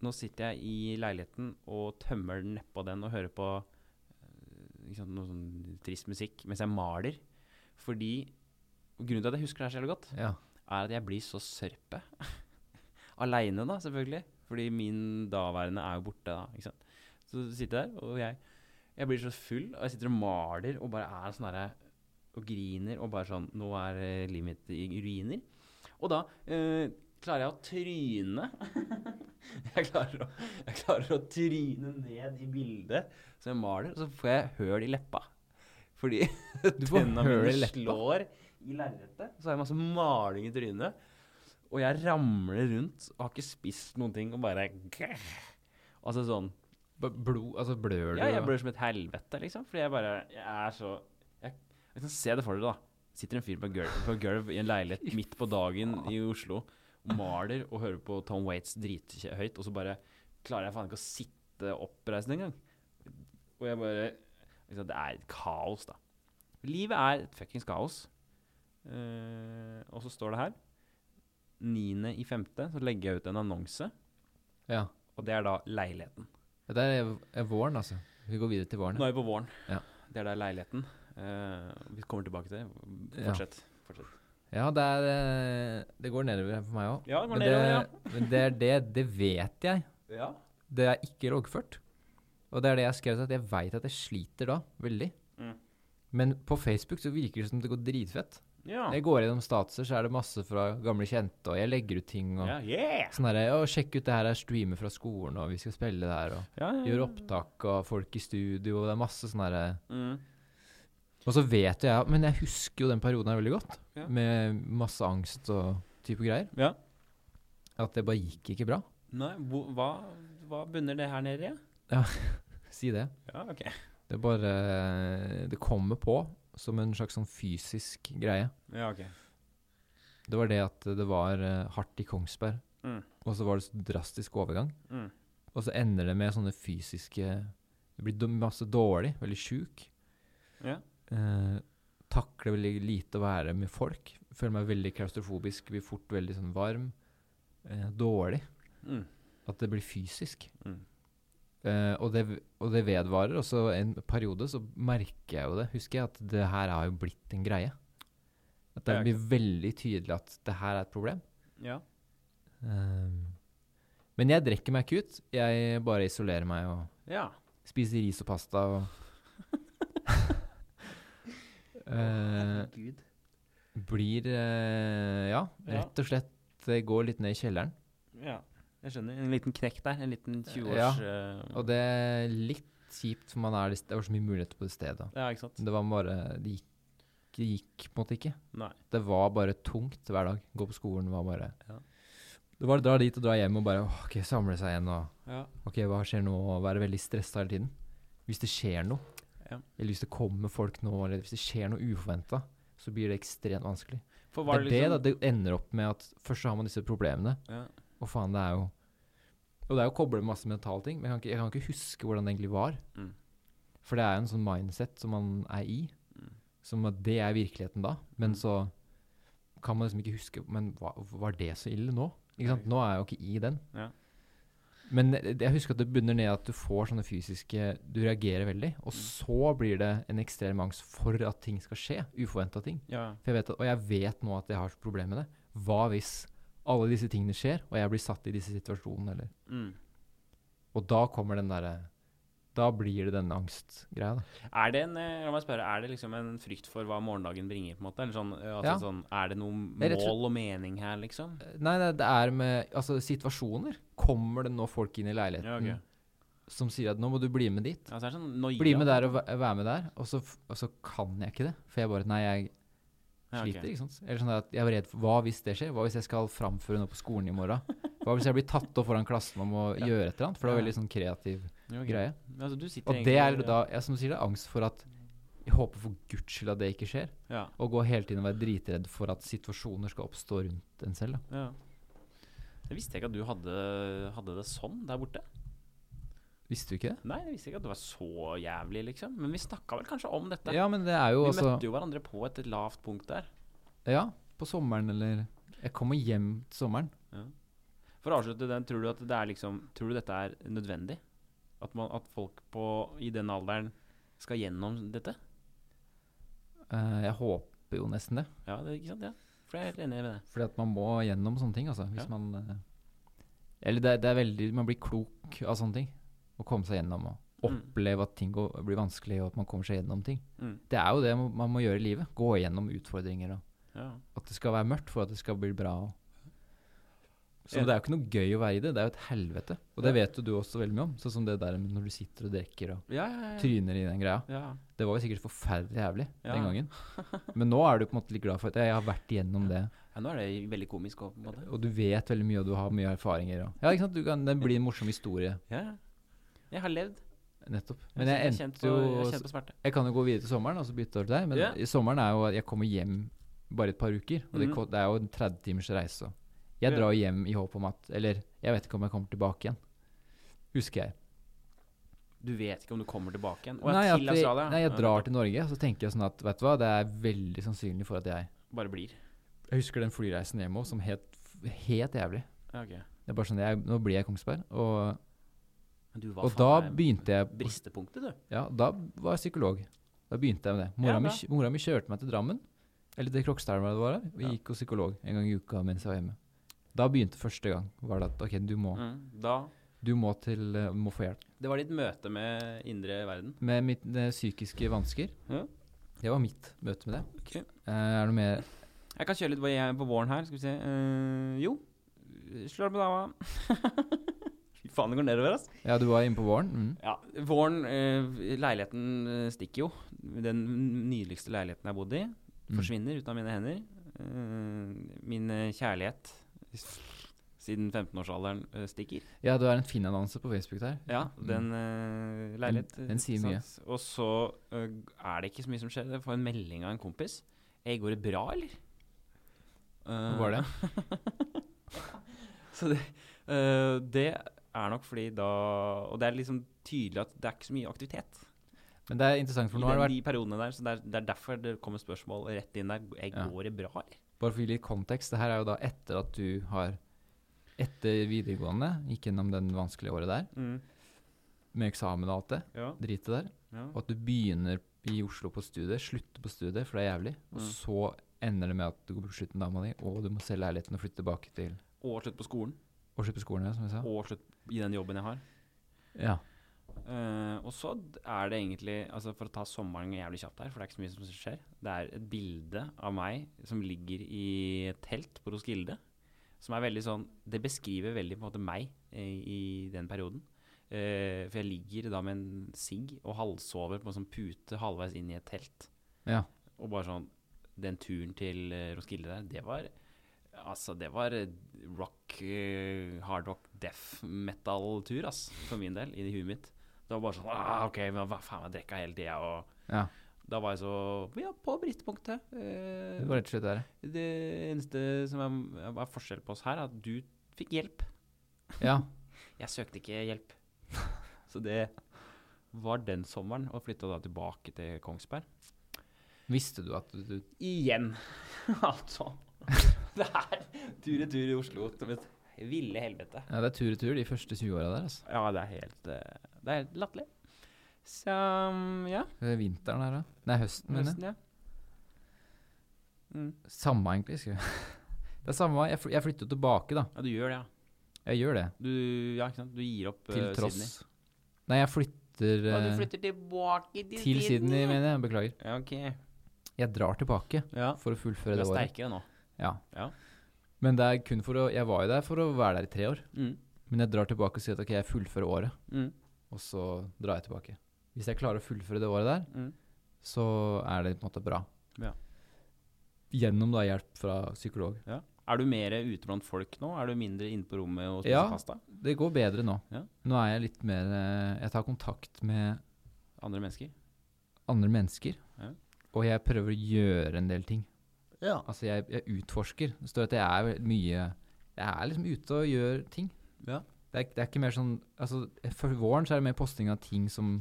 [SPEAKER 2] Nå sitter jeg i leiligheten og tømmer den nedpå den og hører på eh, ikke sant, noe sånn trist musikk mens jeg maler. Fordi Grunnen til at jeg husker det her så jævlig godt,
[SPEAKER 1] Ja.
[SPEAKER 2] er at jeg blir så sørpe. Aleine, da, selvfølgelig. Fordi min daværende er jo borte, da. ikke sant? Så sitter jeg der, og jeg, jeg blir så full, og jeg sitter og maler og bare er sånn herre Og griner og bare sånn Nå er eh, livet mitt i ruiner. Og da eh, klarer jeg å tryne jeg, klarer å, jeg klarer å tryne ned i bildet som jeg maler, og så får jeg høl i leppa. Fordi
[SPEAKER 1] Du får
[SPEAKER 2] tenna
[SPEAKER 1] høl i
[SPEAKER 2] mine
[SPEAKER 1] leppa.
[SPEAKER 2] slår i lerretet. Så har jeg masse maling i trynet. Og jeg ramler rundt og har ikke spist noen ting og bare Altså sånn
[SPEAKER 1] B- Blod Altså, blør du?
[SPEAKER 2] Ja, jeg blør som et helvete, liksom. Fordi jeg bare Jeg er så Jeg, jeg kan se det for dere, da. Sitter en fyr på gulv, på gulv i en leilighet midt på dagen i Oslo og maler og hører på Tom Waits drithøyt, og så bare klarer jeg faen ikke å sitte oppreist engang. Og jeg bare liksom, Det er et kaos, da. Livet er et fuckings kaos. Eh, og så står det her 9.5. så legger jeg ut en annonse,
[SPEAKER 1] Ja.
[SPEAKER 2] og det er da leiligheten.
[SPEAKER 1] Ja, Det er, er våren, altså. Vi går videre til våren.
[SPEAKER 2] Nå er vi på våren.
[SPEAKER 1] Ja.
[SPEAKER 2] Det er der leiligheten. Eh, vi kommer tilbake til det.
[SPEAKER 1] Ja.
[SPEAKER 2] Fortsett. Fortsett.
[SPEAKER 1] Ja, det, er, eh, det går nedover for meg òg.
[SPEAKER 2] Ja, det går
[SPEAKER 1] Men,
[SPEAKER 2] nedover, ja.
[SPEAKER 1] det- men det er det Det vet jeg.
[SPEAKER 2] Ja.
[SPEAKER 1] Det er ikke loggført. Og det er det jeg skrev til at jeg veit at jeg sliter da, veldig.
[SPEAKER 2] Mm.
[SPEAKER 1] Men på Facebook så virker det som det går dritfett.
[SPEAKER 2] Ja.
[SPEAKER 1] Når Jeg går gjennom statser, så er det masse fra gamle kjente, og jeg legger ut ting og
[SPEAKER 2] ja. Yeah!
[SPEAKER 1] sånn herre Å, sjekk ut det her er streamer fra skolen, og vi skal spille det her, og
[SPEAKER 2] Ja, ja,
[SPEAKER 1] gjør opptak av folk i studio, og det er masse sånn herre
[SPEAKER 2] Mm.
[SPEAKER 1] Og så vet jo jeg Men jeg husker jo den perioden her veldig godt.
[SPEAKER 2] Ja.
[SPEAKER 1] Med masse angst og type greier.
[SPEAKER 2] Ja.
[SPEAKER 1] At det bare gikk ikke bra.
[SPEAKER 2] Nei, hvor- hva, hva bunner det her nede i?
[SPEAKER 1] Si det.
[SPEAKER 2] Ja, ok.
[SPEAKER 1] Det bare Det kommer på som en slags sånn fysisk greie.
[SPEAKER 2] Ja, ok.
[SPEAKER 1] Det var det at det var eh, hardt i Kongsberg,
[SPEAKER 2] Mm.
[SPEAKER 1] og så var det så drastisk overgang.
[SPEAKER 2] Mm.
[SPEAKER 1] Og så ender det med sånne fysiske Det blir dum- masse dårlig, veldig sjuk.
[SPEAKER 2] Ja.
[SPEAKER 1] Eh, takler veldig lite å være med folk. Føler meg veldig klaustrofobisk, blir fort veldig sånn varm. Eh, dårlig.
[SPEAKER 2] Mm.
[SPEAKER 1] At det blir fysisk.
[SPEAKER 2] Mm.
[SPEAKER 1] Eh, og, det, og det vedvarer. Og så en periode så merker jeg jo det. Husker jeg at det her har jo blitt en greie. At det
[SPEAKER 2] Ja,
[SPEAKER 1] blir veldig tydelig at det her er et problem.
[SPEAKER 2] Ja.
[SPEAKER 1] Eh, men jeg drikker meg ikke ut. Jeg bare isolerer meg og
[SPEAKER 2] Ja.
[SPEAKER 1] spiser ris og pasta og Eh,
[SPEAKER 2] Gud.
[SPEAKER 1] blir eh, ja,
[SPEAKER 2] Ja.
[SPEAKER 1] rett og slett eh, går litt ned i kjelleren.
[SPEAKER 2] Ja. Jeg skjønner. En liten knekk der. En liten 20-års
[SPEAKER 1] Ja.
[SPEAKER 2] eh,
[SPEAKER 1] Og det er litt kjipt, for man er, det var så mye muligheter på det stedet.
[SPEAKER 2] eh, Ja, ikke sant?
[SPEAKER 1] Det var bare Det gikk, det gikk på en måte ikke.
[SPEAKER 2] Nei.
[SPEAKER 1] Det var bare tungt hver dag. Gå på skolen var bare
[SPEAKER 2] Ja.
[SPEAKER 1] Det var å dra dit og dra hjem og bare åh, OK, samle seg igjen og
[SPEAKER 2] Ja.
[SPEAKER 1] OK, hva skjer nå? Og være veldig stressa hele tiden. Hvis det skjer noe,
[SPEAKER 2] Ja.
[SPEAKER 1] eller hvis det kommer folk nå, eller hvis det skjer noe uforventa, så blir det ekstremt vanskelig.
[SPEAKER 2] For
[SPEAKER 1] Det
[SPEAKER 2] var
[SPEAKER 1] er
[SPEAKER 2] det
[SPEAKER 1] det, da.
[SPEAKER 2] liksom
[SPEAKER 1] Det ender opp med at først så har man disse problemene,
[SPEAKER 2] Ja.
[SPEAKER 1] og faen, det er jo Og det er jo koblet med masse mentale ting, men jeg kan ikke, jeg kan ikke huske hvordan det egentlig var.
[SPEAKER 2] Mm.
[SPEAKER 1] For det er jo en sånn mindset som man er i,
[SPEAKER 2] Mm.
[SPEAKER 1] som at det er virkeligheten da. Men
[SPEAKER 2] Mm.
[SPEAKER 1] så kan man liksom ikke huske Men hva, var det så ille nå? Ikke sant? Nå er jeg jo ikke i den.
[SPEAKER 2] Ja.
[SPEAKER 1] Men jeg jeg husker at det bunner ned i at du får sånne fysiske Du reagerer veldig,
[SPEAKER 2] Mm.
[SPEAKER 1] og så blir det en ekstrem angst for at ting skal skje. Uforventa ting.
[SPEAKER 2] Ja.
[SPEAKER 1] For jeg vet at, og jeg vet nå at jeg har et problem med det. Hva hvis alle disse tingene skjer, og jeg blir satt i disse situasjonene? Eller?
[SPEAKER 2] Mm.
[SPEAKER 1] Og da kommer den derre Da blir det denne angstgreia, da.
[SPEAKER 2] Er det en, eh, la meg spørre, er det liksom en frykt for hva morgendagen bringer, på en måte? Eller sånn, eh, altså,
[SPEAKER 1] Ja.
[SPEAKER 2] sånn er det noe
[SPEAKER 1] Det er rett og slett-
[SPEAKER 2] mål og mening her, liksom?
[SPEAKER 1] Eh, Nei, nei, det er med Altså, situasjoner. Kommer det nå folk inn i leiligheten?
[SPEAKER 2] Ja, ok.
[SPEAKER 1] som sier at 'nå må du bli med dit'.
[SPEAKER 2] Altså, det er sånn noia.
[SPEAKER 1] Bli med der og væ- være med der. Og så, f- og så kan jeg ikke det. For jeg bare Nei, jeg
[SPEAKER 2] Ja, ok.
[SPEAKER 1] sliter. ikke sant? Eller sånn at jeg var redd for Hva hvis det skjer? Hva hvis jeg skal framføre noe på skolen i morgen? Hva hvis jeg blir tatt opp foran klassen om å
[SPEAKER 2] Ja.
[SPEAKER 1] gjøre et eller annet? For det var
[SPEAKER 2] Ja.
[SPEAKER 1] veldig sånn kreativ
[SPEAKER 2] Jo, ok.
[SPEAKER 1] greie.
[SPEAKER 2] Men Altså, du sitter
[SPEAKER 1] Og det er
[SPEAKER 2] egentlig-
[SPEAKER 1] da jeg som du sier det, angst for at Jeg håper for guds skyld at det ikke skjer.
[SPEAKER 2] Ja.
[SPEAKER 1] Og gå hele tiden og være dritredd for at situasjoner skal oppstå rundt en selv. Da.
[SPEAKER 2] ja. Jeg visste ikke at du hadde, hadde det sånn der borte.
[SPEAKER 1] Visste du ikke det?
[SPEAKER 2] Nei, jeg visste ikke at det var så jævlig, liksom. Men vi snakka vel kanskje om dette?
[SPEAKER 1] Ja, men det er jo
[SPEAKER 2] vi
[SPEAKER 1] altså
[SPEAKER 2] møtte jo hverandre på et lavt punkt der.
[SPEAKER 1] Ja, på sommeren eller Jeg kommer hjem til sommeren.
[SPEAKER 2] For å avslutte den, tror du at det er liksom Tror du dette er nødvendig? At, man, at folk på, i den alderen skal gjennom dette?
[SPEAKER 1] Eh, jeg håper jo nesten det.
[SPEAKER 2] Ja, det er ikke sant? Ja. For jeg er helt enig med det.
[SPEAKER 1] Fordi at man må gjennom sånne ting, altså. Hvis
[SPEAKER 2] Ja.
[SPEAKER 1] man eh, Eller det, er- det er veldig Man blir klok av sånne ting. Å komme seg gjennom og
[SPEAKER 2] Mm.
[SPEAKER 1] oppleve at ting går, blir vanskelig, og at man kommer seg gjennom ting.
[SPEAKER 2] Mm.
[SPEAKER 1] Det er jo det man- man må gjøre i livet. Gå gjennom utfordringer og
[SPEAKER 2] Ja.
[SPEAKER 1] at det skal være mørkt for at det skal bli bra. og- Så
[SPEAKER 2] Ja.
[SPEAKER 1] Det er jo ikke noe gøy å være i det. Det er jo et helvete. Og
[SPEAKER 2] Ja.
[SPEAKER 1] det vet jo du også veldig mye om. Sånn som det der med når du sitter og drikker og
[SPEAKER 2] Ja, ja, ja.
[SPEAKER 1] tryner i den greia.
[SPEAKER 2] ja.
[SPEAKER 1] Det var jo sikkert forferdelig jævlig den
[SPEAKER 2] Ja.
[SPEAKER 1] gangen. Men nå er du på en måte litt glad for at jeg har vært igjennom det.
[SPEAKER 2] ja nå er det veldig komisk òg, på en måte.
[SPEAKER 1] Og du vet veldig mye, og du har mye erfaringer. Og. Ja, ikke sant? Du kan, det blir en morsom historie.
[SPEAKER 2] Ja, ja. Jeg har levd.
[SPEAKER 1] Nettopp. Men jeg
[SPEAKER 2] har kjent
[SPEAKER 1] endte
[SPEAKER 2] på, jeg har
[SPEAKER 1] jo
[SPEAKER 2] kjent på smerte.
[SPEAKER 1] Jeg kan jo gå videre til sommeren og så bytte over til deg, men
[SPEAKER 2] Ja.
[SPEAKER 1] i sommeren er jo at jeg kommer hjem bare et par uker. Og det,
[SPEAKER 2] Mhm.
[SPEAKER 1] ko- det er jo en 30 timers reise. og Jeg
[SPEAKER 2] Ja.
[SPEAKER 1] drar hjem i håp om at Eller jeg vet ikke om jeg kommer tilbake igjen. Husker jeg.
[SPEAKER 2] Du vet ikke om du kommer tilbake igjen? Å, ja,
[SPEAKER 1] at
[SPEAKER 2] til
[SPEAKER 1] jeg,
[SPEAKER 2] Australia?
[SPEAKER 1] nei, jeg
[SPEAKER 2] Ja,
[SPEAKER 1] drar til Norge, så tenker jeg sånn at vet du hva, det er veldig sannsynlig for at jeg
[SPEAKER 2] Bare blir.
[SPEAKER 1] Jeg husker den flyreisen hjem òg, som het f- helt jævlig.
[SPEAKER 2] Ja, ok.
[SPEAKER 1] Det er bare sånn, jeg, Nå blir jeg i Kongsberg. Og,
[SPEAKER 2] Men du var
[SPEAKER 1] og da
[SPEAKER 2] faen meg
[SPEAKER 1] begynte jeg på-
[SPEAKER 2] Bristepunktet, du.
[SPEAKER 1] Ja, da var jeg psykolog. Da begynte jeg med det. Mora,
[SPEAKER 2] Ja,
[SPEAKER 1] mi,
[SPEAKER 2] bra.
[SPEAKER 1] kj- mora mi kjørte meg til Drammen, eller til Krokstad, hvor det var her, og
[SPEAKER 2] Ja.
[SPEAKER 1] gikk hos psykolog en gang i uka mens jeg var hjemme. Da begynte første gang. var det at, ok, Du må,
[SPEAKER 2] Mm. Da
[SPEAKER 1] du må, til, eh, må få hjelp.
[SPEAKER 2] Det var ditt møte med indre verden.
[SPEAKER 1] Med mitt eh, psykiske vansker.
[SPEAKER 2] Ja.
[SPEAKER 1] Det var mitt møte med det.
[SPEAKER 2] Ok.
[SPEAKER 1] Eh, er det noe mer
[SPEAKER 2] Jeg kan kjøre litt hva jeg på våren her. Skal vi se. Eh, jo. Slår på dama. Fy faen, det går nedover, ass.
[SPEAKER 1] Ja, du var inne på våren? Mm.
[SPEAKER 2] Ja, våren eh, Leiligheten eh, stikker jo. Den nydeligste leiligheten jeg har bodd i,
[SPEAKER 1] Mm.
[SPEAKER 2] forsvinner ut av mine hender. Eh, min eh, kjærlighet siden 15-årsalderen eh, stikker.
[SPEAKER 1] Ja, du er en fin annonse på Facebook der.
[SPEAKER 2] Ja,
[SPEAKER 1] Mm.
[SPEAKER 2] den eh, leilighet.
[SPEAKER 1] Den- den sier
[SPEAKER 2] ikke
[SPEAKER 1] mye.
[SPEAKER 2] sant? Og så eh, er det ikke så mye som skjer. Jeg får en melding av en kompis. Ei, går det bra, eller?
[SPEAKER 1] Hvor var det?
[SPEAKER 2] så det, eh, det er nok fordi da Og det er liksom tydelig at det er ikke så mye aktivitet
[SPEAKER 1] Men det er interessant,
[SPEAKER 2] i
[SPEAKER 1] for nå har det
[SPEAKER 2] den-
[SPEAKER 1] vært
[SPEAKER 2] de periodene der. Så det er, det er derfor det kommer spørsmål rett inn der. Jeg
[SPEAKER 1] Ja.
[SPEAKER 2] går det bra, eller?
[SPEAKER 1] Bare for å gi litt kontekst, det her er jo da etter at du har Etter videregående, gikk gjennom den vanskelige året der, med eksamen og alt det.
[SPEAKER 2] Mm. Ja.
[SPEAKER 1] dritet der.
[SPEAKER 2] ja.
[SPEAKER 1] Og at du begynner i Oslo på studiet, slutter på studiet, for det er jævlig. Og
[SPEAKER 2] Mm.
[SPEAKER 1] så ender det med at du går på slutt med dama di, og du må selge leiligheten og flytte tilbake til
[SPEAKER 2] Og slutt på skolen.
[SPEAKER 1] og slippe skolen, ja, som jeg sa.
[SPEAKER 2] Og slutt i den jobben jeg har.
[SPEAKER 1] Ja.
[SPEAKER 2] Eh, og så d- er det egentlig altså For å ta sommeren jævlig kjapt her, for det er ikke så mye som skjer. Det er et bilde av meg som ligger i et telt på Roskilde. Som er veldig sånn Det beskriver veldig på en måte meg eh, i den perioden. Eh, for jeg ligger da med en sigg og halvsover på en sånn pute halvveis inn i et telt.
[SPEAKER 1] ja.
[SPEAKER 2] Og bare sånn Den turen til eh, Roskilde der, det var Altså, det var eh, rock, eh, hard rock, death metal-tur, ass, for min del, i huet mitt. Det var bare sånn ah, OK, men hva faen, jeg drikka hele tida, og
[SPEAKER 1] ja.
[SPEAKER 2] da var jeg så Ja, på bristepunktet. Eh,
[SPEAKER 1] Det var rett og slett det.
[SPEAKER 2] det eneste som er, er forskjell på oss her, er at du fikk hjelp.
[SPEAKER 1] Ja.
[SPEAKER 2] Jeg søkte ikke hjelp. så det var den sommeren, og flytta da tilbake til Kongsberg.
[SPEAKER 1] Visste du at du, du
[SPEAKER 2] Igjen. altså. Det er tur-retur i Oslo som et ville helvete.
[SPEAKER 1] Ja, det er tur i tur de første 20 åra der, altså.
[SPEAKER 2] Ja, det er helt eh, Det er helt latterlig. Så mm, ja.
[SPEAKER 1] Det er Vinteren her, da. Nei, høsten, mener jeg.
[SPEAKER 2] Nesten, ja. Mm.
[SPEAKER 1] Samme, egentlig. Skal vi. Det er samme, jeg, fly, jeg flytter jo tilbake, da.
[SPEAKER 2] Ja, du gjør det, ja.
[SPEAKER 1] Jeg gjør det.
[SPEAKER 2] Du, ja, ikke sant? du gir opp
[SPEAKER 1] Til
[SPEAKER 2] eh,
[SPEAKER 1] tross.
[SPEAKER 2] Sydney.
[SPEAKER 1] Nei, jeg flytter,
[SPEAKER 2] Ja,
[SPEAKER 1] eh,
[SPEAKER 2] du flytter tilbake til,
[SPEAKER 1] til Sydney,
[SPEAKER 2] Sydney.
[SPEAKER 1] mener jeg. Beklager.
[SPEAKER 2] Ja, ok.
[SPEAKER 1] Jeg drar tilbake
[SPEAKER 2] Ja.
[SPEAKER 1] for å
[SPEAKER 2] Du
[SPEAKER 1] fullføre
[SPEAKER 2] er
[SPEAKER 1] det året.
[SPEAKER 2] sterkere nå.
[SPEAKER 1] Ja.
[SPEAKER 2] Ja.
[SPEAKER 1] Men det er kun for å Jeg var jo der for å være der i tre år.
[SPEAKER 2] Mm.
[SPEAKER 1] Men jeg drar tilbake og sier at ok, jeg fullfører året.
[SPEAKER 2] Mm.
[SPEAKER 1] og så drar jeg tilbake. Hvis jeg klarer å fullføre det året der,
[SPEAKER 2] Mm.
[SPEAKER 1] så er det på en måte bra.
[SPEAKER 2] Ja.
[SPEAKER 1] Gjennom da hjelp fra psykolog.
[SPEAKER 2] Ja. Er du mer ute blant folk nå? Er du mindre inne på rommet og spiser
[SPEAKER 1] Ja.
[SPEAKER 2] pasta?
[SPEAKER 1] Det går bedre nå.
[SPEAKER 2] Ja.
[SPEAKER 1] Nå er jeg litt mer eh, Jeg tar kontakt med
[SPEAKER 2] Andre mennesker?
[SPEAKER 1] andre mennesker.
[SPEAKER 2] Ja.
[SPEAKER 1] Og jeg prøver å gjøre en del ting.
[SPEAKER 2] Ja.
[SPEAKER 1] Altså, jeg, jeg utforsker. Det står at jeg er vel- mye Jeg er liksom ute og gjør ting.
[SPEAKER 2] Ja.
[SPEAKER 1] Det er, det er ikke mer sånn altså, For våren så er det mer posting av ting som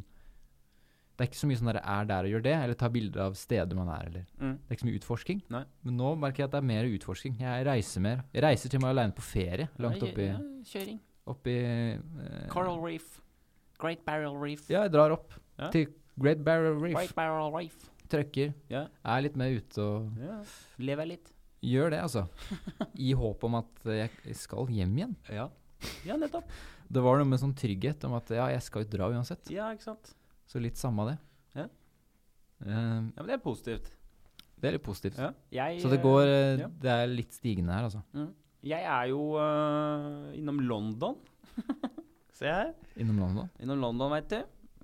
[SPEAKER 1] Det er ikke så mye sånn der er der og gjør det, eller ta bilder av steder man er, eller
[SPEAKER 2] Mm.
[SPEAKER 1] Det er ikke så mye utforsking.
[SPEAKER 2] Nei.
[SPEAKER 1] Men nå merker jeg at det er mer utforsking. Jeg reiser mer. Jeg reiser til og med alene på ferie, langt
[SPEAKER 2] Ja,
[SPEAKER 1] oppi,
[SPEAKER 2] ja, Kjøring.
[SPEAKER 1] oppi eh,
[SPEAKER 2] Coral Reef. Great Barrel Reef.
[SPEAKER 1] Ja, jeg drar opp
[SPEAKER 2] Ja.
[SPEAKER 1] til Great Barrier
[SPEAKER 2] Great
[SPEAKER 1] Reef.
[SPEAKER 2] Barrel Reef.
[SPEAKER 1] Trøkker.
[SPEAKER 2] Ja.
[SPEAKER 1] Er litt mer ute og
[SPEAKER 2] Ja. Lever litt.
[SPEAKER 1] gjør det, altså. I håp om at eh, jeg skal hjem igjen.
[SPEAKER 2] Ja. ja, nettopp.
[SPEAKER 1] Det var noe med sånn trygghet om at ja, jeg skal jo dra uansett.
[SPEAKER 2] Ja, ikke sant.
[SPEAKER 1] Så litt samme av det.
[SPEAKER 2] Ja.
[SPEAKER 1] Eh,
[SPEAKER 2] Ja, Men det er positivt.
[SPEAKER 1] det er litt positivt.
[SPEAKER 2] Ja. Jeg,
[SPEAKER 1] Så det går eh,
[SPEAKER 2] ja.
[SPEAKER 1] Det er litt stigende her, altså.
[SPEAKER 2] Mm. Jeg er jo øh, innom London. Se her.
[SPEAKER 1] Innom London.
[SPEAKER 2] Innom London, veit du.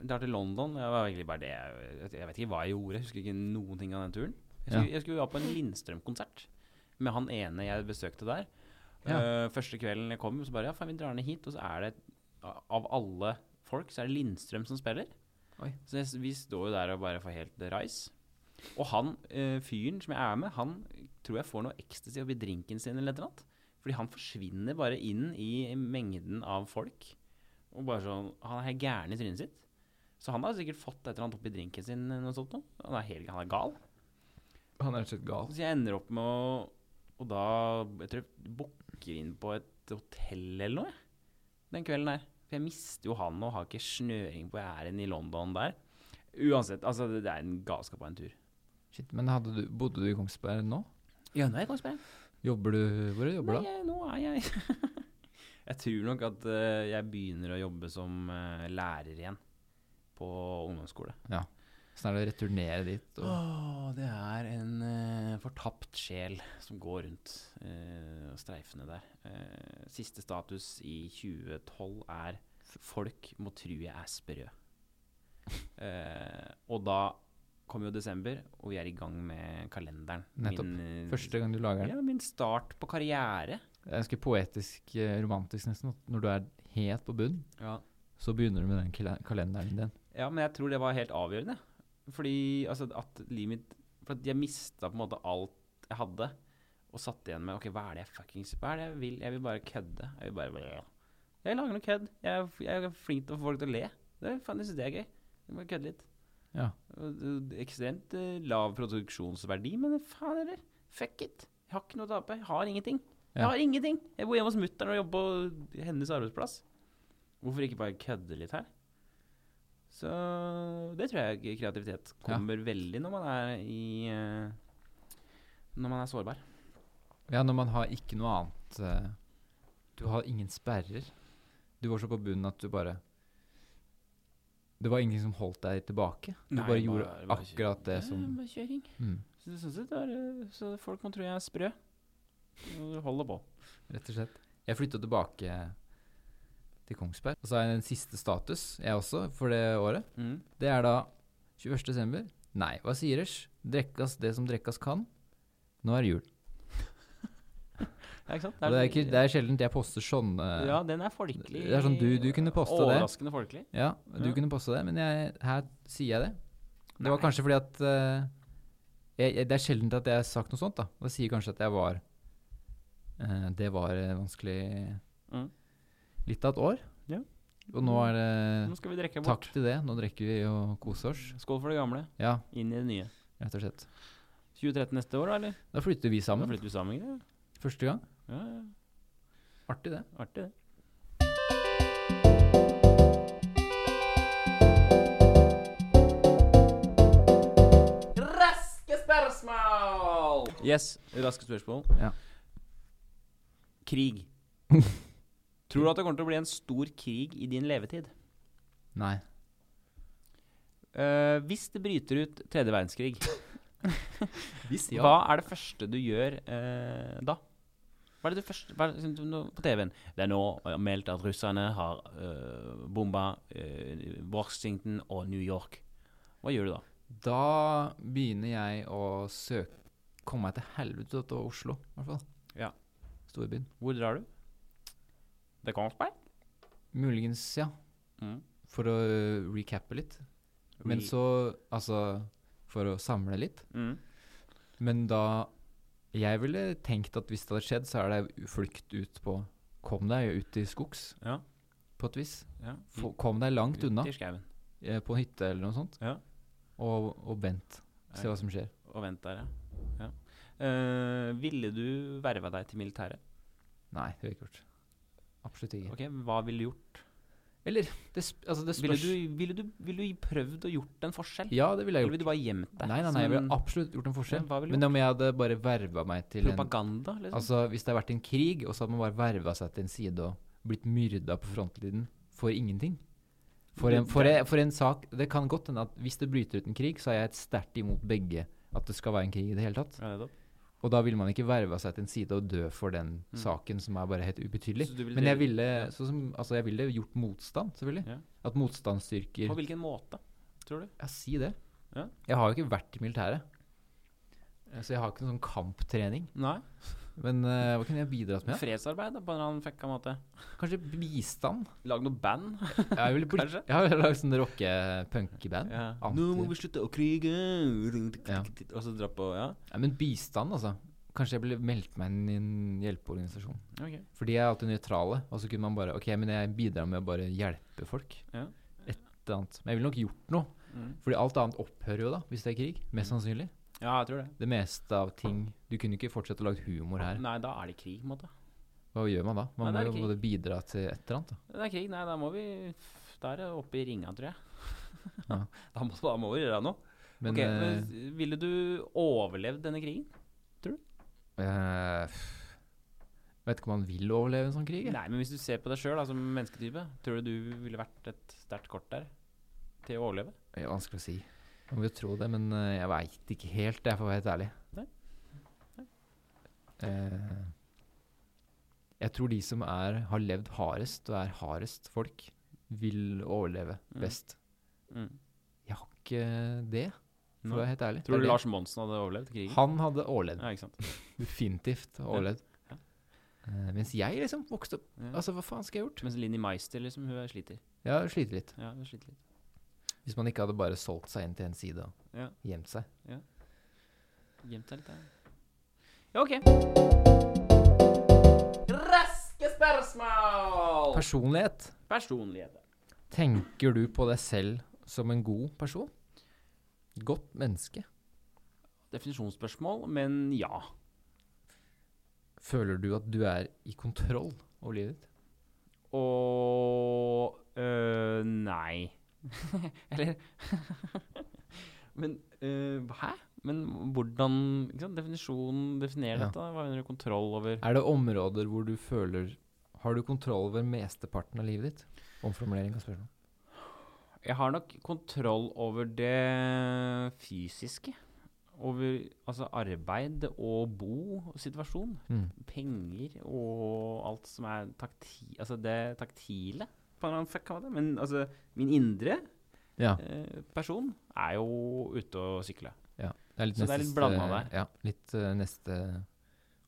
[SPEAKER 2] Drar til London. Jeg var egentlig bare det jeg- Jeg vet ikke hva jeg gjorde. Jeg husker ikke noen ting av den turen. Jeg skulle,
[SPEAKER 1] Ja.
[SPEAKER 2] jeg skulle dra på en Lindstrøm-konsert med han ene jeg besøkte der. Eh, første kvelden jeg kom, så bare Ja, faen, vi drar ned hit. Og så er det Av alle folk, så er det Lindstrøm som spiller.
[SPEAKER 1] Oi.
[SPEAKER 2] Så jeg, vi står jo der og bare får helt rise. Og han eh, fyren som jeg er med, han tror jeg får noe ecstasy oppi drinken sin eller et eller annet. Fordi han forsvinner bare inn i mengden av folk. Og bare sånn, Han er helt gæren i trynet sitt. Så han har sikkert fått et eller annet oppi drinken sin. eller Noe sånt, nå. han, er helt, han er gal.
[SPEAKER 1] Han er rett og slett gal.
[SPEAKER 2] Så jeg ender opp med å Og da jeg tror jeg booker inn på et hotell eller noe jeg, den kvelden der. For jeg mister jo han og har ikke snøring på æren i London der. Uansett, altså det det er en galskap av en tur.
[SPEAKER 1] Shit, men hadde du, bodde du i Kongsberg nå?
[SPEAKER 2] Ja, nå er jeg i Kongsberg.
[SPEAKER 1] Jobber du Hvor jobber du da?
[SPEAKER 2] Nei, jeg- nå er jeg Jeg tror nok at eh, jeg begynner å jobbe som eh, lærer igjen på ungdomsskole.
[SPEAKER 1] Sånn er det å returnere dit og
[SPEAKER 2] Åh, det er en eh, fortapt sjel som går rundt eh, og streifende der. Eh, siste status i 2012 er folk må tru jeg er sprø. Eh, og da kommer jo desember, og vi er i gang med kalenderen.
[SPEAKER 1] Nettopp.
[SPEAKER 2] Min, eh,
[SPEAKER 1] Første gang du lager den.
[SPEAKER 2] ja, min start på karriere.
[SPEAKER 1] Det er ganske poetisk, eh, romantisk nesten. at Når du er helt på bunn,
[SPEAKER 2] Ja.
[SPEAKER 1] så begynner du med den kala- kalenderen din.
[SPEAKER 2] Ja, men jeg tror det var helt avgjørende. Fordi altså, at livet mitt For at jeg mista på en måte alt jeg hadde, og satt igjen med OK, hva er det jeg fuckings Hva er det jeg vil? Jeg vil bare kødde. Jeg vil bare Jeg lager noe kødd. Jeg, er f- jeg er flink til å få folk til å le. Det, er- faen, jeg syns det er gøy. Jeg må kødde litt.
[SPEAKER 1] Ja.
[SPEAKER 2] Og det- Ekstremt eh, lav produksjonsverdi, men faen heller. Fuck it. Jeg har ikke noe å tape. Jeg har ingenting. Jeg
[SPEAKER 1] Ja.
[SPEAKER 2] har ingenting. Jeg bor hjemme hos mutter'n og jobber på hennes arbeidsplass. Hvorfor ikke bare kødde litt her? Så det tror jeg kreativitet kommer veldig når man er i eh, Når man er sårbar.
[SPEAKER 1] Ja, når man har ikke noe annet eh, Du har ingen sperrer. Du var så på bunnen at du bare Det var ingenting som holdt deg tilbake. Du
[SPEAKER 2] Nei,
[SPEAKER 1] bare gjorde
[SPEAKER 2] bare- bare kjø-
[SPEAKER 1] akkurat det som
[SPEAKER 2] Ja, bare kjøring.
[SPEAKER 1] mm,
[SPEAKER 2] Så, det- sånn sett er, det- så folk må tro jeg er sprø. Og Holder på.
[SPEAKER 1] mm, Rett og slett. Jeg flytta tilbake til Kongsberg. Og så har jeg en siste status, jeg også, for det året.
[SPEAKER 2] Mm.
[SPEAKER 1] Det er da 21. desember. Nei, hva siers? Drekkas det som drekkas kan. Nå er det jul.
[SPEAKER 2] Ja, ikke sant?
[SPEAKER 1] Og Det er, ikke, det er sjelden jeg poster sånne
[SPEAKER 2] ja, den er folkelig.
[SPEAKER 1] Eh, Det er sånn du- du kunne poste det.
[SPEAKER 2] Overraskende folkelig.
[SPEAKER 1] Ja, du
[SPEAKER 2] Ja.
[SPEAKER 1] kunne posta det, men jeg, her sier jeg det. Det var
[SPEAKER 2] Nei.
[SPEAKER 1] kanskje fordi at eh, jeg, jeg, Det er sjelden at jeg har sagt noe sånt, da. Det sier kanskje at jeg var eh, Det var eh, vanskelig
[SPEAKER 2] Mm.
[SPEAKER 1] litt av et år.
[SPEAKER 2] Ja.
[SPEAKER 1] Og nå er det
[SPEAKER 2] Nå skal vi drikke
[SPEAKER 1] Eh, Takk
[SPEAKER 2] bort.
[SPEAKER 1] til det. Nå drikker vi og koser oss.
[SPEAKER 2] Skål for det gamle.
[SPEAKER 1] Ja,
[SPEAKER 2] Inn i det nye.
[SPEAKER 1] rett og slett.
[SPEAKER 2] 2013 neste år, da, eller?
[SPEAKER 1] Da flytter vi
[SPEAKER 2] Da
[SPEAKER 1] sammen
[SPEAKER 2] flytter vi sammen. ikke det?
[SPEAKER 1] første gang.
[SPEAKER 2] Ja, ja.
[SPEAKER 1] Artig, det.
[SPEAKER 2] Artig, det. Raske spørsmål! Yes, raske spørsmål.
[SPEAKER 1] Ja.
[SPEAKER 2] Krig. Tror du at det kommer til å bli en stor krig i din levetid?
[SPEAKER 1] Nei.
[SPEAKER 2] Eh, hvis det bryter ut tredje verdenskrig,
[SPEAKER 1] Hvis
[SPEAKER 2] hva er det første du gjør eh, da? Hva er det du først hva er det, du- nå- På TV-en. Det er nå eh, meldt at russerne har eh, bomba eh, Washington og New York. Hva gjør du da?
[SPEAKER 1] Da begynner jeg å søke Komme meg til helvete ut av Oslo, i hvert fall.
[SPEAKER 2] Ja.
[SPEAKER 1] Storbyen.
[SPEAKER 2] Hvor drar du? Det kommer på
[SPEAKER 1] Muligens, ja.
[SPEAKER 2] Mm.
[SPEAKER 1] For å eh, recappe litt. Men
[SPEAKER 2] Re-
[SPEAKER 1] så Altså, for å samle litt.
[SPEAKER 2] mm.
[SPEAKER 1] Men da Jeg ville tenkt at hvis det hadde skjedd, så er det flukt ut på Kom deg ut i skogs,
[SPEAKER 2] Ja.
[SPEAKER 1] på et vis.
[SPEAKER 2] ja.
[SPEAKER 1] Få, kom deg langt
[SPEAKER 2] Ut
[SPEAKER 1] unna,
[SPEAKER 2] I skauen.
[SPEAKER 1] eh, på en hytte eller noe sånt.
[SPEAKER 2] Ja.
[SPEAKER 1] Og, og vent. Se
[SPEAKER 2] Ja.
[SPEAKER 1] hva som skjer.
[SPEAKER 2] Og vent der, ja. ja. Eh, ville du verva deg til militæret?
[SPEAKER 1] Nei, det ville jeg ikke gjort. Absolutt ikke.
[SPEAKER 2] Ok, Hva ville du gjort?
[SPEAKER 1] Eller det, sp altså, det
[SPEAKER 2] Ville
[SPEAKER 1] spørs
[SPEAKER 2] du, ville, du, ville du prøvd og gjort en forskjell?
[SPEAKER 1] Ja, det ville jeg gjort.
[SPEAKER 2] Eller ville du bare gjemt deg?
[SPEAKER 1] Nei, nei,
[SPEAKER 2] som
[SPEAKER 1] nei, jeg
[SPEAKER 2] en
[SPEAKER 1] ville absolutt gjort en
[SPEAKER 2] Ja,
[SPEAKER 1] forskjell.
[SPEAKER 2] hva ville du
[SPEAKER 1] Men om jeg hadde bare verva meg til en
[SPEAKER 2] propaganda? Liksom?
[SPEAKER 1] Altså, hvis det har vært en krig, og så hadde man bare verva seg til en side og blitt myrda på frontlinjen for ingenting for
[SPEAKER 2] Det-
[SPEAKER 1] en, for,
[SPEAKER 2] det-
[SPEAKER 1] en, for en sak Det kan godt hende at hvis det bryter ut en krig, så er jeg et sterkt imot begge at det skal være en krig i det hele tatt.
[SPEAKER 2] Ja, nettopp.
[SPEAKER 1] Og da ville man ikke verva seg til en side og dø for den
[SPEAKER 2] Mm.
[SPEAKER 1] saken som er bare helt ubetydelig.
[SPEAKER 2] Så du ville
[SPEAKER 1] Men jeg
[SPEAKER 2] dele-
[SPEAKER 1] ville, sånn som, altså jeg ville gjort motstand, selvfølgelig.
[SPEAKER 2] Ja.
[SPEAKER 1] At motstandsstyrker
[SPEAKER 2] På hvilken måte, tror du?
[SPEAKER 1] Ja, si det.
[SPEAKER 2] Ja.
[SPEAKER 1] Jeg har jo ikke vært i militæret. Eh, Så jeg har ikke noen sånn kamptrening.
[SPEAKER 2] Nei.
[SPEAKER 1] Men eh, hva kunne jeg bidratt med?
[SPEAKER 2] Fredsarbeid, da, på en eller annen fucka måte.
[SPEAKER 1] Kanskje bistand?
[SPEAKER 2] Lag noe band.
[SPEAKER 1] Jeg ville blitt,
[SPEAKER 2] Kanskje?
[SPEAKER 1] jeg har lagd sånn rocke-punky-band.
[SPEAKER 2] Ja.
[SPEAKER 1] Anti-
[SPEAKER 2] Nå må vi slutte å krige!
[SPEAKER 1] Ja.
[SPEAKER 2] Og så dra på Ja.
[SPEAKER 1] Ja, men bistand, altså. Kanskje jeg ville meldt meg inn i en hjelpeorganisasjon.
[SPEAKER 2] Ok.
[SPEAKER 1] For de er alltid nøytrale. Og så kunne man bare Ok, men jeg bidrar med å bare hjelpe folk.
[SPEAKER 2] Ja.
[SPEAKER 1] Et eller annet. Men jeg ville nok gjort noe.
[SPEAKER 2] Mm.
[SPEAKER 1] Fordi alt annet opphører jo da, hvis det er krig. Mest sannsynlig.
[SPEAKER 2] Ja, jeg tror det.
[SPEAKER 1] Det meste av ting Du kunne ikke fortsette å lage humor her.
[SPEAKER 2] Nei, da er det krig, på en måte.
[SPEAKER 1] Hva gjør man da? Man
[SPEAKER 2] Nei, det er
[SPEAKER 1] må jo
[SPEAKER 2] krig.
[SPEAKER 1] både bidra til et eller annet. Da.
[SPEAKER 2] Det er krig, nei, da må vi Da er det oppe i ringa, tror jeg.
[SPEAKER 1] Ja.
[SPEAKER 2] da, må, da må vi gjøre noe.
[SPEAKER 1] Men,
[SPEAKER 2] Ok,
[SPEAKER 1] eh,
[SPEAKER 2] men s- Ville du overlevd denne krigen?
[SPEAKER 1] eh, pff, Vet ikke om man vil overleve en sånn krig. jeg.
[SPEAKER 2] Nei, men hvis du ser på deg sjøl som mennesketype, tror du du ville vært et sterkt kort der til å overleve?
[SPEAKER 1] Det er vanskelig å si. Man vil jo tro det, men eh, jeg veit ikke helt, jeg, for å være helt ærlig.
[SPEAKER 2] Nei.
[SPEAKER 1] Eh, jeg tror de som er, har levd hardest, og er hardest folk, vil overleve
[SPEAKER 2] Mm.
[SPEAKER 1] best.
[SPEAKER 2] Mm.
[SPEAKER 1] Jeg har ikke det, for å
[SPEAKER 2] Nei.
[SPEAKER 1] være helt ærlig.
[SPEAKER 2] Tror
[SPEAKER 1] Det
[SPEAKER 2] du
[SPEAKER 1] er
[SPEAKER 2] Lars Monsen hadde overlevd
[SPEAKER 1] det.
[SPEAKER 2] krigen?
[SPEAKER 1] Han hadde overlevd.
[SPEAKER 2] Ja, ikke sant.
[SPEAKER 1] Definitivt overlevd.
[SPEAKER 2] Ja.
[SPEAKER 1] Eh, mens jeg liksom vokste opp
[SPEAKER 2] Ja.
[SPEAKER 1] Altså, hva faen skal jeg gjort?
[SPEAKER 2] Mens Linni Meister, liksom, hun er sliter.
[SPEAKER 1] Jeg har slitt litt.
[SPEAKER 2] Ja, hun sliter litt.
[SPEAKER 1] Hvis man ikke hadde bare solgt seg inn til en side og
[SPEAKER 2] Ja,
[SPEAKER 1] gjemt seg.
[SPEAKER 2] Gjemt seg litt der. Ja, OK. Raske spørsmål!
[SPEAKER 1] Personlighet.
[SPEAKER 2] Personlighet.
[SPEAKER 1] Tenker du på deg selv som en god person? Godt menneske?
[SPEAKER 2] Definisjonsspørsmål, men ja.
[SPEAKER 1] Føler du at du er i kontroll over livet ditt?
[SPEAKER 2] Og øh, nei. Eller Men øh, Hæ? Men hvordan ikke sant? Definisjonen definerer
[SPEAKER 1] Ja.
[SPEAKER 2] dette? Hva mener du kontroll over
[SPEAKER 1] Er det områder hvor du føler Har du kontroll over mesteparten av livet ditt? Omformulering av spørsmål.
[SPEAKER 2] Jeg har nok kontroll over det fysiske. Over altså arbeid og bo og situasjon.
[SPEAKER 1] Mm.
[SPEAKER 2] Penger og alt som er takti... Altså det taktile, på en eller annen fuck, kan man det. Men altså, min indre
[SPEAKER 1] Ja.
[SPEAKER 2] eh, person er jo ute og sykle.
[SPEAKER 1] Det er litt
[SPEAKER 2] Så det er
[SPEAKER 1] neste-
[SPEAKER 2] litt blandet der.
[SPEAKER 1] Ja, litt eh, neste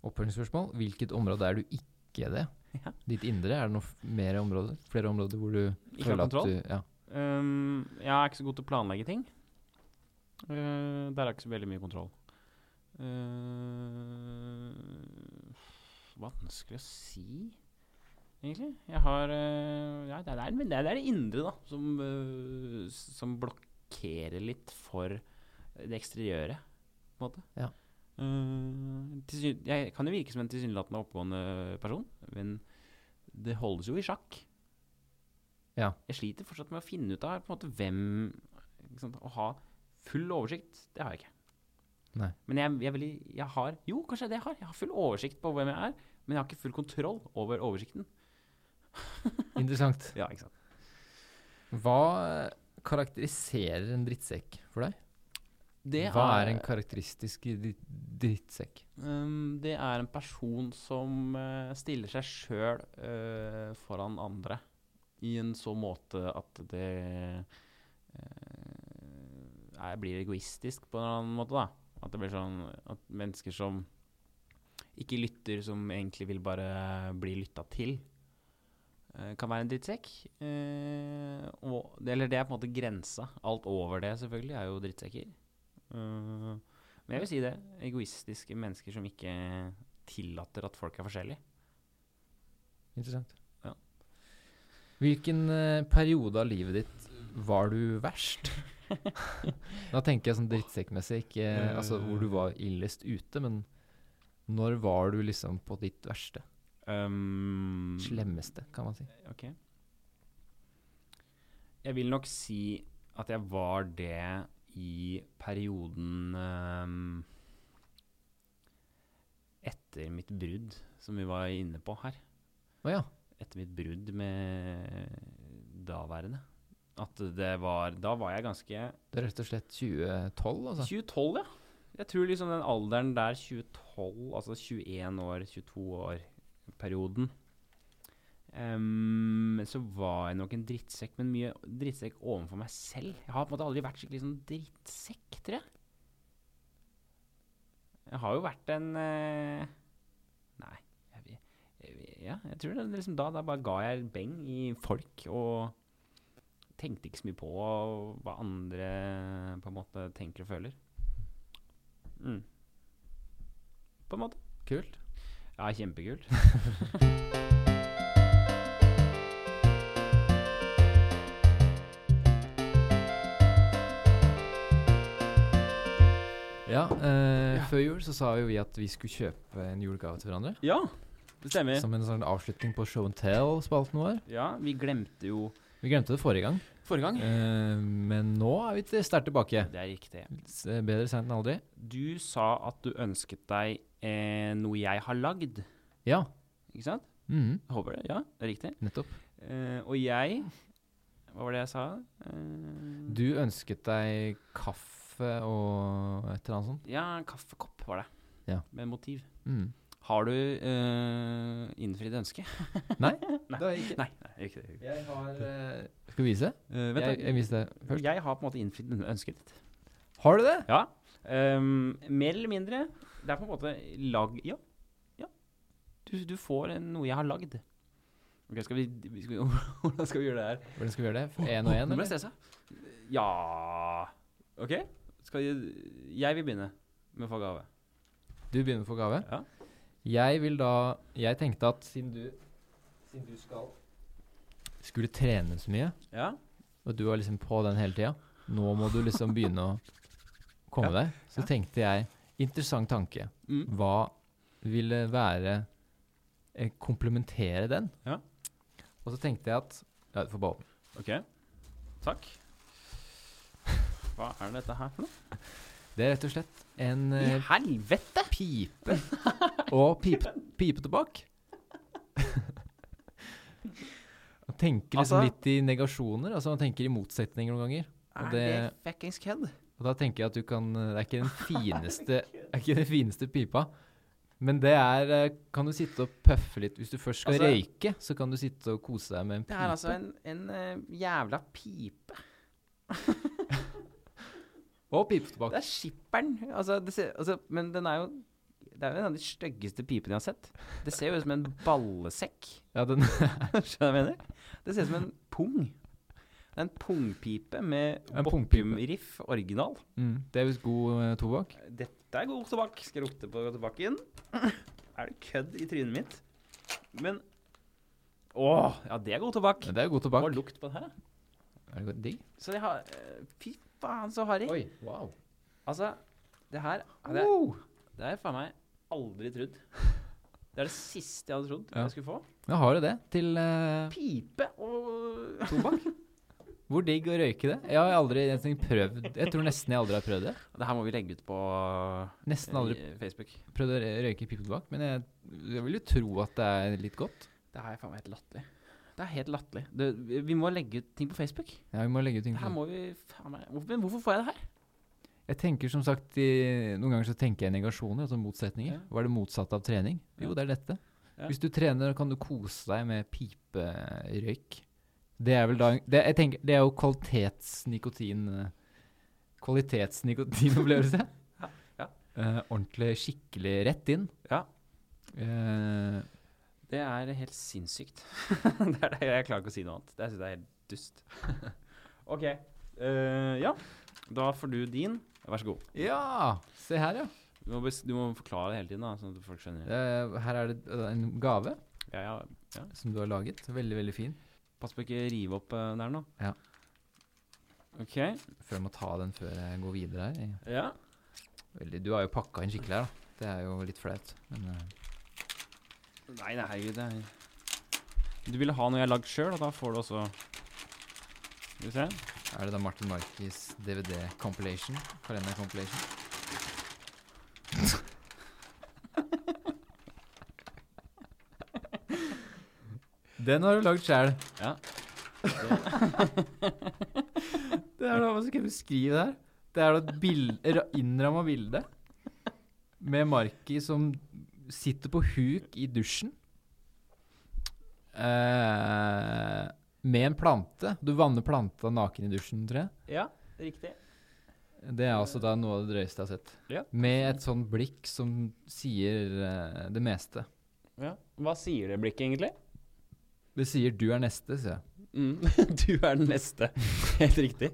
[SPEAKER 1] oppfølgingsspørsmål. Hvilket område er du ikke det?
[SPEAKER 2] Ja.
[SPEAKER 1] Ditt indre? Er det noe f- mer områder? Flere områder hvor du
[SPEAKER 2] Ikke har kontroll?
[SPEAKER 1] du ja.
[SPEAKER 2] Ehm, jeg er ikke så god til å planlegge ting. Eh, der er ikke så veldig mye kontroll. Uh, Eh, vanskelig å si, egentlig. Jeg har eh, ja, det, er, men det, er, det er det indre, da, som, eh, s- som blokkerer litt for det eksteriøre, på en måte.
[SPEAKER 1] Ja.
[SPEAKER 2] Eh, tilsyn- jeg kan jo virke som en tilsynelatende oppegående person, men det holdes jo i sjakk jeg sliter fortsatt med å finne ut av på en måte hvem ikke sant? Å ha full oversikt, det har jeg ikke.
[SPEAKER 1] Nei.
[SPEAKER 2] Men jeg, jeg, er veldig- jeg har Jo, kanskje det er det jeg har. Jeg har full oversikt på hvem jeg er, men jeg har ikke full kontroll over oversikten.
[SPEAKER 1] Interessant.
[SPEAKER 2] Ja, ikke sant?
[SPEAKER 1] Hva karakteriserer en drittsekk for deg?
[SPEAKER 2] Det
[SPEAKER 1] Hva er en karakteristisk dri- drittsekk?
[SPEAKER 2] Ehm, det er en person som eh, stiller seg sjøl eh, foran andre i en så måte at det eh, er, blir egoistisk på en eller annen måte. da. At det blir sånn at mennesker som ikke lytter, som egentlig vil bare bli lytta til, eh, kan være en drittsekk. Eh, og, det, eller det er på en måte grensa. Alt over det selvfølgelig er jo drittsekker. Eh, men jeg vil si det. Egoistiske mennesker som ikke tillater at folk er forskjellige.
[SPEAKER 1] Interessant.
[SPEAKER 2] Ja.
[SPEAKER 1] Hvilken eh, periode av livet ditt var du verst? da tenker jeg sånn drittsekkmessig, ikke eh, altså hvor du var illest ute, men når var du liksom på ditt verste?
[SPEAKER 2] Um,
[SPEAKER 1] Slemmeste, kan man si.
[SPEAKER 2] Ok. Jeg vil nok si at jeg var det i perioden ehm, etter mitt brudd, som vi var inne på her.
[SPEAKER 1] Å ja.
[SPEAKER 2] Etter mitt brudd med daværende. At det var Da var jeg ganske
[SPEAKER 1] Det er rett og slett 2012, altså?
[SPEAKER 2] 2012, ja. Jeg tror liksom den alderen der, 2012, altså 21 år, 22 år-perioden ehm, Så var jeg nok en drittsekk, men mye drittsekk overfor meg selv. Jeg har på en måte aldri vært skikkelig sånn drittsekk, tror jeg. Jeg har jo vært en eh, Nei. Jeg, vet- jeg, vet- ja, jeg tror det, liksom da, da bare ga jeg beng i folk og tenkte ikke så mye på hva andre på en måte tenker og føler. Mm. På en måte.
[SPEAKER 1] Kult.
[SPEAKER 2] Ja, kjempekult.
[SPEAKER 1] Ja, eh, Før jul så sa jo vi at vi skulle kjøpe en julegave til hverandre.
[SPEAKER 2] ja, det stemmer.
[SPEAKER 1] Som en sånn avslutning på show and tell-spalten vår.
[SPEAKER 2] Ja, vi glemte jo
[SPEAKER 1] Vi glemte det forrige gang,
[SPEAKER 2] Forrige gang.
[SPEAKER 1] eh, men nå er vi til- sterkt tilbake.
[SPEAKER 2] Det er riktig.
[SPEAKER 1] S- eh, Bedre sent enn aldri.
[SPEAKER 2] Du sa at du ønsket deg eh, noe jeg har lagd,
[SPEAKER 1] Ja.
[SPEAKER 2] ikke sant?
[SPEAKER 1] Mhm,
[SPEAKER 2] Jeg håper det. Ja, det er riktig.
[SPEAKER 1] nettopp.
[SPEAKER 2] Eh, og jeg Hva var det jeg sa? Eh,
[SPEAKER 1] Du ønsket deg kaffe og et eller annet sånt?
[SPEAKER 2] Ja, kaffekopp var det.
[SPEAKER 1] Ja.
[SPEAKER 2] Med motiv.
[SPEAKER 1] Mm.
[SPEAKER 2] Har du eh, innfridd ønsket? Nei.
[SPEAKER 1] Det har jeg ikke.
[SPEAKER 2] Nei, nei ikke det.
[SPEAKER 1] Jeg har eh, Skal vi vise?
[SPEAKER 2] Eh, vent,
[SPEAKER 1] Jeg,
[SPEAKER 2] da.
[SPEAKER 1] jeg viser det først.
[SPEAKER 2] Jeg har på en måte innfridd denne ønsket ditt.
[SPEAKER 1] Har du det?
[SPEAKER 2] Ja. ehm, mer eller mindre. Det er på en måte lag... Ja. ja. Du, du får en, noe jeg har lagd. Ok, skal vi, vi skal, Hvordan skal vi gjøre det her?
[SPEAKER 1] Hvordan skal vi gjøre det? Én og én,
[SPEAKER 2] Nå ble
[SPEAKER 1] eller?
[SPEAKER 2] jeg stressa. Ja OK. Skal jeg, jeg vil begynne med å få gave.
[SPEAKER 1] Du begynner å få gave.
[SPEAKER 2] Ja.
[SPEAKER 1] Jeg vil da Jeg tenkte at siden du, siden du skal Skulle trene så mye,
[SPEAKER 2] Ja.
[SPEAKER 1] og du var liksom på den hele tida Nå må du liksom begynne å komme deg. Så
[SPEAKER 2] ja.
[SPEAKER 1] tenkte jeg Interessant tanke.
[SPEAKER 2] Mm.
[SPEAKER 1] Hva ville være eh, Komplementere den?
[SPEAKER 2] Ja.
[SPEAKER 1] Og så tenkte jeg at Ja, du får bare åpne.
[SPEAKER 2] OK. Takk. Hva er dette her for noe?
[SPEAKER 1] Det er rett og slett en
[SPEAKER 2] I
[SPEAKER 1] eh,
[SPEAKER 2] helvete!
[SPEAKER 1] pipe og pipe, pipetobakk. Man tenker liksom
[SPEAKER 2] Altså-
[SPEAKER 1] litt i negasjoner. Altså Man tenker i motsetninger noen ganger. Og
[SPEAKER 2] Er det,
[SPEAKER 1] det-
[SPEAKER 2] fuckings kødd?
[SPEAKER 1] Og da tenker jeg at du kan eh, Det er ikke den fineste, det er ikke den fineste pipa. Men det er eh, Kan du sitte og pøffe litt Hvis du først skal
[SPEAKER 2] Altså-
[SPEAKER 1] røyke, så kan du sitte og kose deg med en
[SPEAKER 2] Det
[SPEAKER 1] pipe.
[SPEAKER 2] er altså en, en eh, jævla pipe.
[SPEAKER 1] Og pipetobakk.
[SPEAKER 2] Det er skipperen. Altså, det ser, altså, men den er jo Det er jo en av de styggeste pipene jeg har sett. Det ser jo ut som en ballesekk.
[SPEAKER 1] Ja, den,
[SPEAKER 2] Skjønner du hva jeg mener? Det ser ut som en pung. Det er en pungpipe med
[SPEAKER 1] En pungpipe.
[SPEAKER 2] Bokkum-riff original.
[SPEAKER 1] mm, det er visst god eh, tobakk.
[SPEAKER 2] Dette er god tobakk. Skal jeg lukte på tobakken? Er det kødd i trynet mitt? Men Åh, ja, det er god tobakk.
[SPEAKER 1] Ja, Det er god
[SPEAKER 2] Hva
[SPEAKER 1] tobakk.
[SPEAKER 2] lukt på den her?
[SPEAKER 1] Er det godt? digg?
[SPEAKER 2] Så jeg har eh, Fy faen, så harry.
[SPEAKER 1] Oi, wow.
[SPEAKER 2] Altså, det her det,
[SPEAKER 1] Wow.
[SPEAKER 2] det har jeg faen meg aldri trodd. Det er det siste jeg hadde trodd
[SPEAKER 1] Ja.
[SPEAKER 2] jeg skulle få.
[SPEAKER 1] Ja, har du det til eh,
[SPEAKER 2] Pipe og
[SPEAKER 1] tobakk? Hvor digg å røyke det? Jeg har aldri nesten prøvd Jeg tror nesten jeg aldri har prøvd det.
[SPEAKER 2] Det her må vi legge ut på
[SPEAKER 1] Nesten aldri
[SPEAKER 2] eh, Facebook.
[SPEAKER 1] prøvd å rø- røyke pipetobakk, men jeg, jeg vil jo tro at det er litt godt.
[SPEAKER 2] Det her er faen meg helt latterlig. Det er helt latterlig. Det- Vi vi må legge ut ting på Facebook.
[SPEAKER 1] Ja, vi må legge ut ting
[SPEAKER 2] Det her
[SPEAKER 1] på
[SPEAKER 2] må vi faen meg Hvor- Men hvorfor får jeg det her?
[SPEAKER 1] Jeg tenker som sagt, i, Noen ganger så tenker jeg negasjoner, altså motsetninger.
[SPEAKER 2] Ja.
[SPEAKER 1] Hva er det motsatte av trening? Jo,
[SPEAKER 2] Ja.
[SPEAKER 1] det er dette.
[SPEAKER 2] Ja.
[SPEAKER 1] Hvis du trener, kan du kose deg med piperøyk. Det er vel da Det, jeg tenker, det er jo kvalitetsnikotin eh, Kvalitetsnikotinopplevelse.
[SPEAKER 2] Ja.
[SPEAKER 1] Eh, ordentlig, skikkelig rett inn.
[SPEAKER 2] Ja.
[SPEAKER 1] Eh,
[SPEAKER 2] Det er helt sinnssykt. det er det, jeg klarer ikke å si noe annet. Det syns jeg er helt dust. OK. eh, ja, da får du din. Vær så god.
[SPEAKER 1] ja! Se her, ja.
[SPEAKER 2] Du må, bes- du må forklare det hele tiden, da, sånn at folk skjønner.
[SPEAKER 1] Det er, her er det eh, en gave
[SPEAKER 2] Ja, ja.
[SPEAKER 1] som du har laget. Veldig, veldig fin.
[SPEAKER 2] Pass på ikke rive opp eh, der nå.
[SPEAKER 1] Ja.
[SPEAKER 2] OK.
[SPEAKER 1] Før jeg må ta den før jeg går videre her.
[SPEAKER 2] Ja.
[SPEAKER 1] Veldig, du har jo pakka inn skikkelig her, da. Det er jo litt flaut. Men eh,
[SPEAKER 2] Nei, nei, herregud, det er Du ville ha noe jeg har lagd sjøl, og da får du også Skal vi se.
[SPEAKER 1] er det da Martin Markis DVD compilation? Kalender compilation? Den har du lagd sjæl.
[SPEAKER 2] Ja.
[SPEAKER 1] Det er da, Hva skal jeg beskrive det her? Det er da et bild- ra- innramma bilde med Marki som sitter på huk i dusjen. Eh, med en plante. Du vanner planta naken i dusjen, tror jeg.
[SPEAKER 2] Ja, riktig.
[SPEAKER 1] Det er altså da noe av det drøyeste jeg har sett.
[SPEAKER 2] Ja.
[SPEAKER 1] Med et sånn blikk som sier eh, det meste.
[SPEAKER 2] Ja. Hva sier det blikket, egentlig?
[SPEAKER 1] Det sier 'du er neste', sier jeg.
[SPEAKER 2] Mm. Du er den neste. Helt riktig.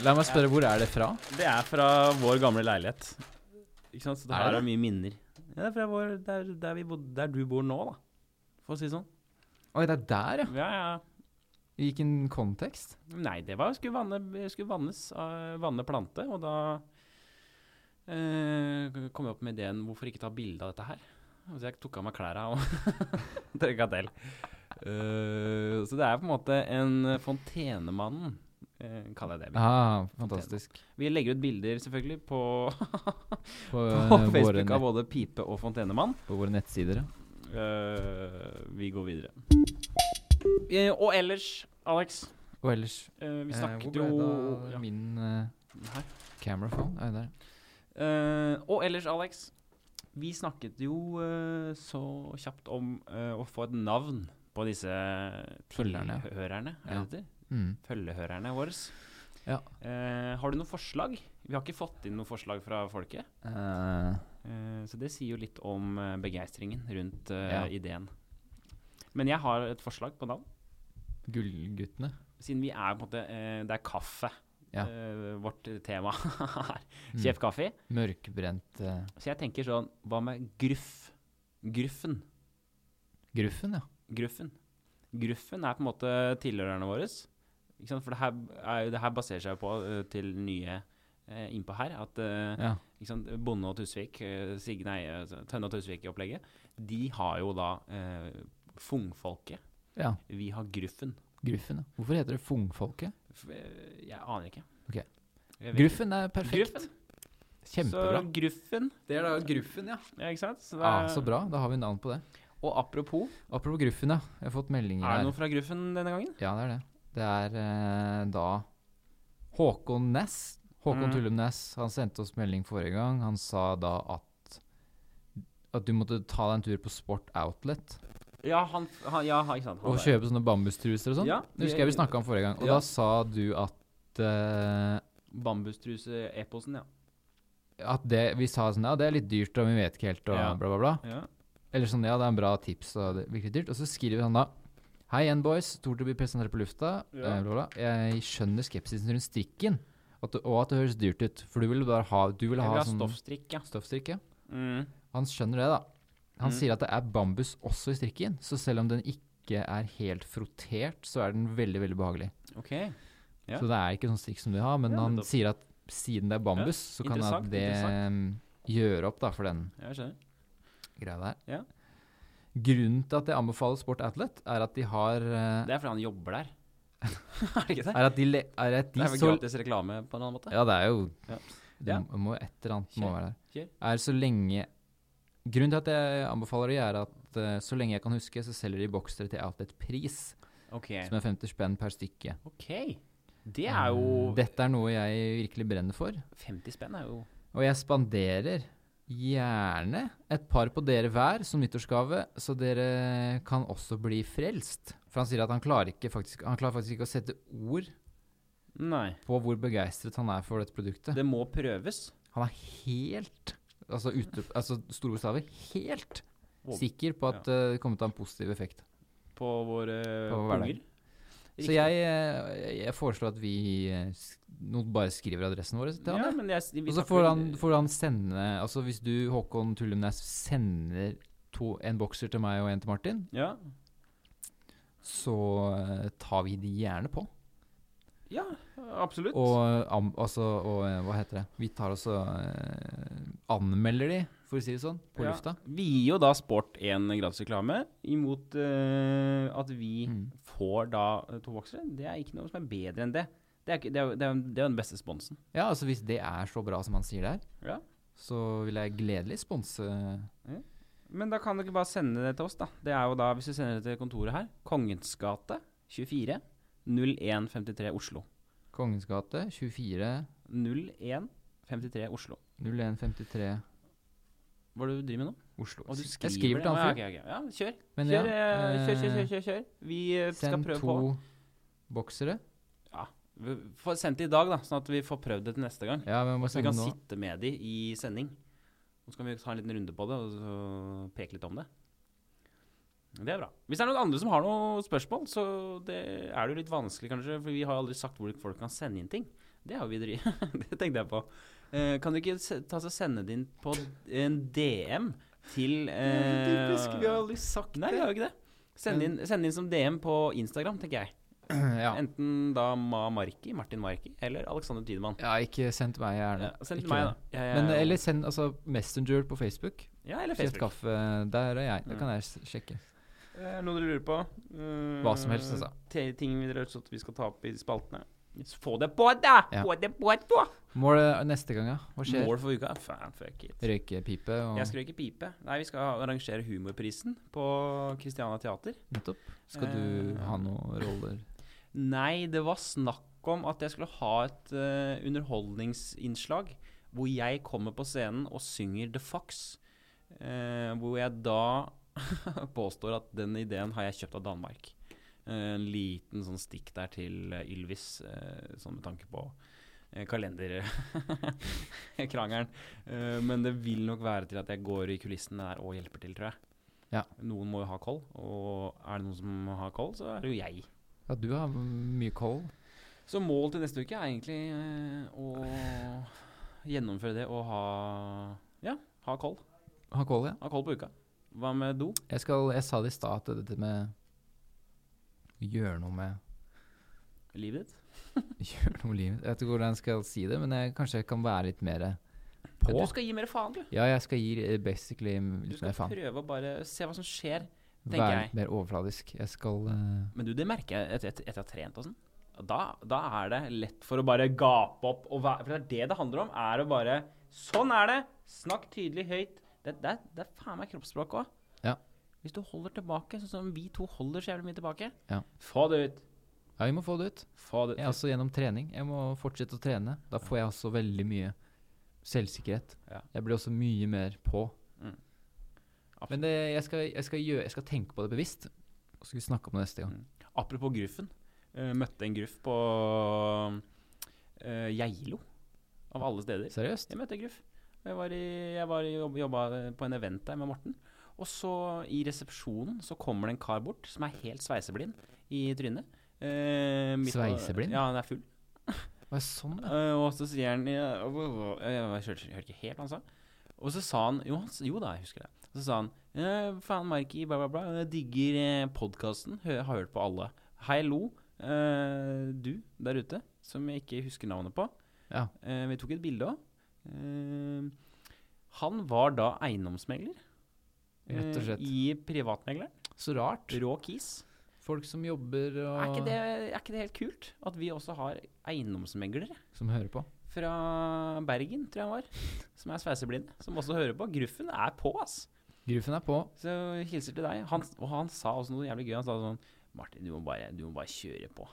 [SPEAKER 1] La meg spørre, hvor er det fra?
[SPEAKER 2] Det er fra vår gamle leilighet. Ikke sant? Så det
[SPEAKER 1] Er
[SPEAKER 2] her
[SPEAKER 1] det?
[SPEAKER 2] er mye minner. Ja, det er fra vår, der, der, vi bod, der du bor nå, da. For å si det sånn.
[SPEAKER 1] Oi, det er der, ja.
[SPEAKER 2] Ja, ja.
[SPEAKER 1] I hvilken kontekst?
[SPEAKER 2] Nei, det var skulle vanne, skulle vannes, av- vanne plante, og da eh, kom jeg opp med ideen hvorfor ikke ta bilde av dette her. Så jeg tok av meg klærne og trykka til. Eh, så det er på en måte en Fontenemannen, eh, kaller jeg det.
[SPEAKER 1] Ah, fantastisk.
[SPEAKER 2] Vi legger ut bilder selvfølgelig på,
[SPEAKER 1] På,
[SPEAKER 2] på
[SPEAKER 1] eh, våre,
[SPEAKER 2] Facebook
[SPEAKER 1] nett,
[SPEAKER 2] av både pipe og fontenemann.
[SPEAKER 1] på våre nettsider, ja.
[SPEAKER 2] Eh, vi går videre. Eh, og ellers, Alex
[SPEAKER 1] Og ellers
[SPEAKER 2] eh, Vi
[SPEAKER 1] eh,
[SPEAKER 2] snakket
[SPEAKER 1] Hvor ble
[SPEAKER 2] jo
[SPEAKER 1] da
[SPEAKER 2] ja,
[SPEAKER 1] min eh,
[SPEAKER 2] her.
[SPEAKER 1] camera phone? Er det der?
[SPEAKER 2] Eh, Og ellers, Alex Vi snakket jo eh, så kjapt om eh, å få et navn på disse
[SPEAKER 1] Følgerne.
[SPEAKER 2] tilhørerne. Er det
[SPEAKER 1] Ja.
[SPEAKER 2] det heter?
[SPEAKER 1] Mm.
[SPEAKER 2] Følgehørerne våre.
[SPEAKER 1] Ja.
[SPEAKER 2] Eh, har du noen forslag? Vi har ikke fått inn noen forslag fra folket.
[SPEAKER 1] Eh,
[SPEAKER 2] Eh, Så det sier jo litt om eh, begeistringen rundt eh,
[SPEAKER 1] Ja.
[SPEAKER 2] ideen. Men jeg har et forslag på navn.
[SPEAKER 1] Gullguttene.
[SPEAKER 2] Siden vi er på en måte eh, Det er kaffe.
[SPEAKER 1] Ja.
[SPEAKER 2] eh, vårt tema her.
[SPEAKER 1] Mm.
[SPEAKER 2] Kjef kaffe.
[SPEAKER 1] Mørkbrent eh,
[SPEAKER 2] Så jeg tenker sånn Hva med gruff? Gruffen.
[SPEAKER 1] Gruffen, ja.
[SPEAKER 2] Gruffen. Gruffen er på en måte tilhørerne våre. Ikke sant? For det her, er, jo- det her baserer seg på eh, til nye eh, innpå her at eh,
[SPEAKER 1] ja.
[SPEAKER 2] ikke sant? Bonde og Tusvik, eh, Sig- nei, eh, Tønne og Tusvik-opplegget, de har jo da eh, fungfolket.
[SPEAKER 1] Ja.
[SPEAKER 2] Vi har Gruffen.
[SPEAKER 1] Gruffen, ja. Hvorfor heter det Fungfolket?
[SPEAKER 2] F- eh, Jeg aner ikke.
[SPEAKER 1] Ok.
[SPEAKER 2] Jeg vet
[SPEAKER 1] Gruffen er
[SPEAKER 2] ikke.
[SPEAKER 1] perfekt.
[SPEAKER 2] Gruffen.
[SPEAKER 1] Kjempebra.
[SPEAKER 2] Så Gruffen,
[SPEAKER 1] det er da Gruffen, ja.
[SPEAKER 2] ja, ikke sant? Så det
[SPEAKER 1] Ah,
[SPEAKER 2] er-
[SPEAKER 1] så bra. Da har vi navn på det.
[SPEAKER 2] Og apropos,
[SPEAKER 1] Apropos Gruffen, ja. Jeg har fått meldinger
[SPEAKER 2] er det
[SPEAKER 1] her.
[SPEAKER 2] noe fra Gruffen denne gangen?
[SPEAKER 1] Ja, det er det. Det er eh, da Håkon Næss. Håkon
[SPEAKER 2] Mhm.
[SPEAKER 1] Tullum Næss. Han sendte oss melding forrige gang. Han sa da at at du måtte ta deg en tur på Sport Outlet
[SPEAKER 2] Ja, han, han ja, ikke sant. Han
[SPEAKER 1] og
[SPEAKER 2] der.
[SPEAKER 1] kjøpe sånne bambustruser og sånn.
[SPEAKER 2] Ja,
[SPEAKER 1] det husker jeg vi snakka om forrige gang. Og
[SPEAKER 2] Ja.
[SPEAKER 1] da sa du at eh,
[SPEAKER 2] Bambustruse-eposen, ja.
[SPEAKER 1] at det, vi sa sånn Ja, det er litt dyrt, og vi vet ikke helt, og
[SPEAKER 2] Ja.
[SPEAKER 1] bla, bla, bla.
[SPEAKER 2] ja.
[SPEAKER 1] Eller sånn, ja, det er en bra tips, og det virker dyrt. Og så skriver han da Hei igjen, boys. Stort å bli presentert på lufta.
[SPEAKER 2] Ja.
[SPEAKER 1] Eh, Bla, bla. Jeg skjønner skepsisen rundt strikken, at, det- og at det høres dyrt ut. For du vil bare ha, du vil
[SPEAKER 2] Jeg vil
[SPEAKER 1] ha,
[SPEAKER 2] ha
[SPEAKER 1] sånn
[SPEAKER 2] stoffstrikk, ja.
[SPEAKER 1] stoffstrikk, ja.
[SPEAKER 2] Mm.
[SPEAKER 1] Han skjønner det, da. Han
[SPEAKER 2] Mm.
[SPEAKER 1] sier at det er bambus også i strikken, så selv om den ikke er helt frottert, så er den veldig, veldig behagelig.
[SPEAKER 2] Ok. Ja.
[SPEAKER 1] Så det er ikke sånn strikk som du har, men
[SPEAKER 2] Ja,
[SPEAKER 1] han
[SPEAKER 2] nettopp.
[SPEAKER 1] sier at siden det er bambus, så kan han
[SPEAKER 2] interessant,
[SPEAKER 1] det mm, gjøre opp da, for den
[SPEAKER 2] Jeg skjønner.
[SPEAKER 1] greia der.
[SPEAKER 2] Ja.
[SPEAKER 1] Grunnen til at jeg anbefaler Sport Atlet, er at de har eh,
[SPEAKER 2] Det er fordi han jobber der. er det ikke det?
[SPEAKER 1] Er at de, le, er at
[SPEAKER 2] det
[SPEAKER 1] de
[SPEAKER 2] er vel
[SPEAKER 1] så
[SPEAKER 2] gratis reklame på en annen måte?
[SPEAKER 1] Ja, det er jo
[SPEAKER 2] Ja.
[SPEAKER 1] Det
[SPEAKER 2] Ja.
[SPEAKER 1] må- må jo et eller annet må
[SPEAKER 2] Kjør.
[SPEAKER 1] være der.
[SPEAKER 2] Kjør.
[SPEAKER 1] Er så lenge Grunnen til at jeg anbefaler de, er at eh, så lenge jeg kan huske, så selger de boksere til Outlet-pris,
[SPEAKER 2] Ok.
[SPEAKER 1] som er 50 spenn per stykke.
[SPEAKER 2] Ok. Det er jo
[SPEAKER 1] Eh, Dette er noe jeg virkelig brenner for.
[SPEAKER 2] 50 spenn er jo
[SPEAKER 1] Og jeg spanderer gjerne et par på dere hver som nyttårsgave, så dere kan også bli frelst. For han sier at han klarer, ikke faktisk, han klarer faktisk ikke å sette ord
[SPEAKER 2] Nei.
[SPEAKER 1] på hvor begeistret han er for dette produktet.
[SPEAKER 2] Det må prøves.
[SPEAKER 1] Han er helt, altså, ute, altså store bokstaver, helt
[SPEAKER 2] Wow.
[SPEAKER 1] sikker på at eh, det kommer til å ha en positiv effekt.
[SPEAKER 2] På våre
[SPEAKER 1] På hverdagen.
[SPEAKER 2] unger.
[SPEAKER 1] Så jeg, eh, jeg foreslår at vi eh, sk- nå bare skriver adressen vår til han. ja.
[SPEAKER 2] ja, men jeg, vi
[SPEAKER 1] Og så
[SPEAKER 2] snakker-
[SPEAKER 1] får han, får han Altså, sende Altså hvis du, Håkon Tullemnes, sender to, en bokser til meg og en til Martin,
[SPEAKER 2] ja.
[SPEAKER 1] så eh, tar vi de gjerne på.
[SPEAKER 2] ja, absolutt.
[SPEAKER 1] Og, am, altså, og eh, hva heter det Vi tar også eh, anmelder de, for å si det sånn, på
[SPEAKER 2] Ja.
[SPEAKER 1] lufta.
[SPEAKER 2] Vi gir jo da Sport en gratisreklame imot eh, at vi
[SPEAKER 1] Mm.
[SPEAKER 2] får da eh, to boksere. Det er ikke noe som er bedre enn det. Det er, ikke, det er, jo- det er, jo- det er jo den beste sponsen.
[SPEAKER 1] Ja, altså hvis det er så bra som han sier det er,
[SPEAKER 2] Ja.
[SPEAKER 1] så vil jeg gledelig sponse eh,
[SPEAKER 2] Men da kan dere bare sende det til oss, da. Det er jo da, hvis du sender det til kontoret her, Kongens gate 24 0153 Oslo.
[SPEAKER 1] Kongens gate 24
[SPEAKER 2] 0153 Oslo.
[SPEAKER 1] 0153
[SPEAKER 2] Hva er det du driver med nå?
[SPEAKER 1] Oslo.
[SPEAKER 2] Å, du
[SPEAKER 1] jeg skriver
[SPEAKER 2] det.
[SPEAKER 1] til han fyren.
[SPEAKER 2] Ja, ok, ok. Ja, kjør.
[SPEAKER 1] Men
[SPEAKER 2] Kjør,
[SPEAKER 1] ja,
[SPEAKER 2] eh, kjør, kjør,
[SPEAKER 1] eh,
[SPEAKER 2] kjør, kjør, kjør. Vi eh, skal
[SPEAKER 1] Send
[SPEAKER 2] prøve
[SPEAKER 1] to
[SPEAKER 2] på.
[SPEAKER 1] boksere.
[SPEAKER 2] Vi får sendt det i dag, da, sånn at vi får prøvd det til neste gang.
[SPEAKER 1] Ja, vi må
[SPEAKER 2] Så vi
[SPEAKER 1] sende
[SPEAKER 2] kan
[SPEAKER 1] nå.
[SPEAKER 2] sitte med de i sending. Og så kan vi ta en liten runde på det og så preke litt om det. Det er bra. Hvis det er noen andre som har noen spørsmål, så det er det jo litt vanskelig kanskje, for vi har aldri sagt hvor folk kan sende inn ting. Det har vi dri... det tenkte jeg på. Eh, kan du ikke se- ta så sende det inn på en DM til eh,
[SPEAKER 1] aldri sagt
[SPEAKER 2] Nei, vi har jo ikke det. Send inn, send inn som DM på Instagram, tenker jeg.
[SPEAKER 1] Ja.
[SPEAKER 2] Enten da Ma Marki, Martin Marki, eller Alexander Tidemann.
[SPEAKER 1] ja, ikke send til meg gjerne.
[SPEAKER 2] Ja, send til
[SPEAKER 1] Ikke
[SPEAKER 2] meg,
[SPEAKER 1] det.
[SPEAKER 2] da. Jeg-
[SPEAKER 1] Men, eh, eller send altså, Messenger på Facebook.
[SPEAKER 2] Ja, eller
[SPEAKER 1] Kjeft
[SPEAKER 2] Facebook. Mm.
[SPEAKER 1] kaffe, der er jeg. Da kan jeg s- sjekke.
[SPEAKER 2] Eh, noe dere lurer på? Eh,
[SPEAKER 1] Hva som helst, altså.
[SPEAKER 2] te- Ting vi dere har lyst til at vi skal ta opp i spaltene. Så Få det på, da!
[SPEAKER 1] Ja.
[SPEAKER 2] Få det på, da!
[SPEAKER 1] Målet neste gang, ja. Hva skjer?
[SPEAKER 2] Mål for uka? Faen, fuck it.
[SPEAKER 1] Røykepipe og
[SPEAKER 2] Jeg skal ikke pipe. Nei, vi skal arrangere Humorprisen på Christiania Teater.
[SPEAKER 1] Nettopp. Skal du
[SPEAKER 2] Eh,
[SPEAKER 1] ha noen roller?
[SPEAKER 2] Nei, det var snakk om at jeg skulle ha et eh, underholdningsinnslag hvor jeg kommer på scenen og synger The Fox. eh, hvor jeg da påstår at den ideen har jeg kjøpt av Danmark. Eh, en liten sånn stikk der til eh, Ylvis, eh, sånn med tanke på eh, kalenderkrangelen. Eh, men det vil nok være til at jeg går i kulissene der og hjelper til, tror jeg.
[SPEAKER 1] Ja.
[SPEAKER 2] Noen må jo ha koll, og er det noen som har koll, så er det jo jeg.
[SPEAKER 1] Ja, du har mye koll.
[SPEAKER 2] Så mål til neste uke er egentlig eh, å gjennomføre det og ha Ja, ha koll.
[SPEAKER 1] Har koll, ja.
[SPEAKER 2] Ha koll på uka. Hva med do?
[SPEAKER 1] Jeg, skal, jeg sa det i stad, at dette med Gjøre noe med
[SPEAKER 2] Livet ditt?
[SPEAKER 1] Gjøre noe med livet Jeg vet ikke hvordan jeg skal si det, men jeg, kanskje jeg kan være litt mer
[SPEAKER 2] Ja,
[SPEAKER 1] på.
[SPEAKER 2] Du skal gi mer faen, du.
[SPEAKER 1] Ja, jeg skal gi eh, basically
[SPEAKER 2] Du
[SPEAKER 1] litt
[SPEAKER 2] skal
[SPEAKER 1] mer faen.
[SPEAKER 2] prøve å bare se hva som skjer. tenker
[SPEAKER 1] Være
[SPEAKER 2] jeg.
[SPEAKER 1] litt mer overfladisk. Jeg skal eh,
[SPEAKER 2] Men du, det merker jeg etter, etter, etter jeg har trent og sånn. Da, da er det lett for å bare gape opp og være For det er det det handler om, er å bare Sånn er det! Snakk tydelig høyt. Det, det, er- det er faen meg kroppsspråk òg.
[SPEAKER 1] Ja.
[SPEAKER 2] Hvis du holder tilbake, sånn som vi to holder så jævlig mye tilbake
[SPEAKER 1] Ja.
[SPEAKER 2] Få det ut!
[SPEAKER 1] Ja, vi må få det ut.
[SPEAKER 2] Få det ut.
[SPEAKER 1] Jeg er også gjennom trening. Jeg må fortsette å trene. Da får jeg også veldig mye selvsikkerhet.
[SPEAKER 2] Ja.
[SPEAKER 1] Jeg blir også mye mer på.
[SPEAKER 2] Mm.
[SPEAKER 1] Men det, jeg, skal, jeg, skal gjøre, jeg skal tenke på det bevisst. Og så skal vi snakke om det neste gang.
[SPEAKER 2] Mm. Apropos gruffen. eh, møtte en gruff på eh, Geilo, av alle steder.
[SPEAKER 1] Seriøst?
[SPEAKER 2] Jeg møtte en gruff. Jeg, var i, jeg var i jobb, jobba på en event der med Morten. Og så, i resepsjonen, så kommer det en kar bort som er helt sveiseblind i trynet. Eh, midt på-
[SPEAKER 1] Sveiseblind?
[SPEAKER 2] Ja, han er full.
[SPEAKER 1] Hva er sånn, ja?
[SPEAKER 2] Eh, og så sier han ja, og- og- og- Jeg hørte, jeg hørte ikke helt hva han sa. Og så sa han Jo, han, s- jo da, jeg husker det. Så sa han «Eh, Faen, Marki, bla, bla, bla. Jeg digger eh, podkasten. Hø, har hørt på alle. Hei, Lo. eh, du der ute, som jeg ikke husker navnet på.
[SPEAKER 1] ja.
[SPEAKER 2] Eh, vi tok et bilde òg. Eh, han var da eiendomsmegler.
[SPEAKER 1] Rett og
[SPEAKER 2] eh,
[SPEAKER 1] slett.
[SPEAKER 2] I privatmegleren.
[SPEAKER 1] Så rart.
[SPEAKER 2] Rå kis.
[SPEAKER 1] Folk som jobber og
[SPEAKER 2] Er ikke, det, er ikke det helt kult at vi også har eiendomsmeglere?
[SPEAKER 1] Som hører på.
[SPEAKER 2] fra Bergen, tror jeg han var, som er sveiseblinde, som også hører på. Gruffen er på, ass.
[SPEAKER 1] Gruffen er på.
[SPEAKER 2] Så hilser til deg. Han, og han sa også noe jævlig gøy. Han sa sånn Martin, du må bare, du må bare kjøre på.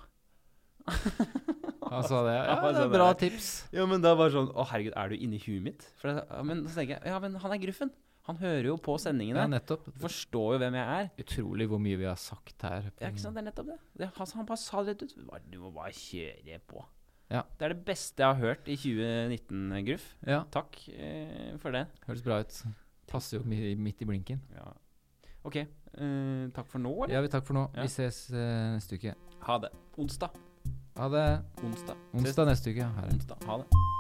[SPEAKER 1] Han sa det. Ja,
[SPEAKER 2] Han
[SPEAKER 1] det
[SPEAKER 2] sa
[SPEAKER 1] er bra
[SPEAKER 2] det.
[SPEAKER 1] tips.
[SPEAKER 2] Ja, men da var det sånn Å, herregud, er du inni huet mitt? For det, ja, men så tenker jeg Ja, men han er gruffen. Han hører jo på
[SPEAKER 1] Ja,
[SPEAKER 2] sendingene.
[SPEAKER 1] nettopp.
[SPEAKER 2] Forstår jo hvem jeg er.
[SPEAKER 1] Utrolig hvor mye vi har sagt her.
[SPEAKER 2] Ja, ikke sant? Det er nettopp det. det altså, han bare sa det rett ut. Bare- Du må bare kjøre på.
[SPEAKER 1] Ja.
[SPEAKER 2] Det er det beste jeg har hørt i 2019, Gruff.
[SPEAKER 1] Ja,
[SPEAKER 2] Takk eh, for det.
[SPEAKER 1] høres bra ut. Passer jo mi- midt i blinken.
[SPEAKER 2] Ja. OK. Eh, takk for nå, eller?
[SPEAKER 1] Ja, vi takker for nå.
[SPEAKER 2] Ja.
[SPEAKER 1] Vi ses eh, neste uke.
[SPEAKER 2] Ha det. Onsdag.
[SPEAKER 1] Ha det.
[SPEAKER 2] Onsdag. Ses
[SPEAKER 1] Onsdag neste uke. ja. Ha det.
[SPEAKER 2] Onsdag. Ha det.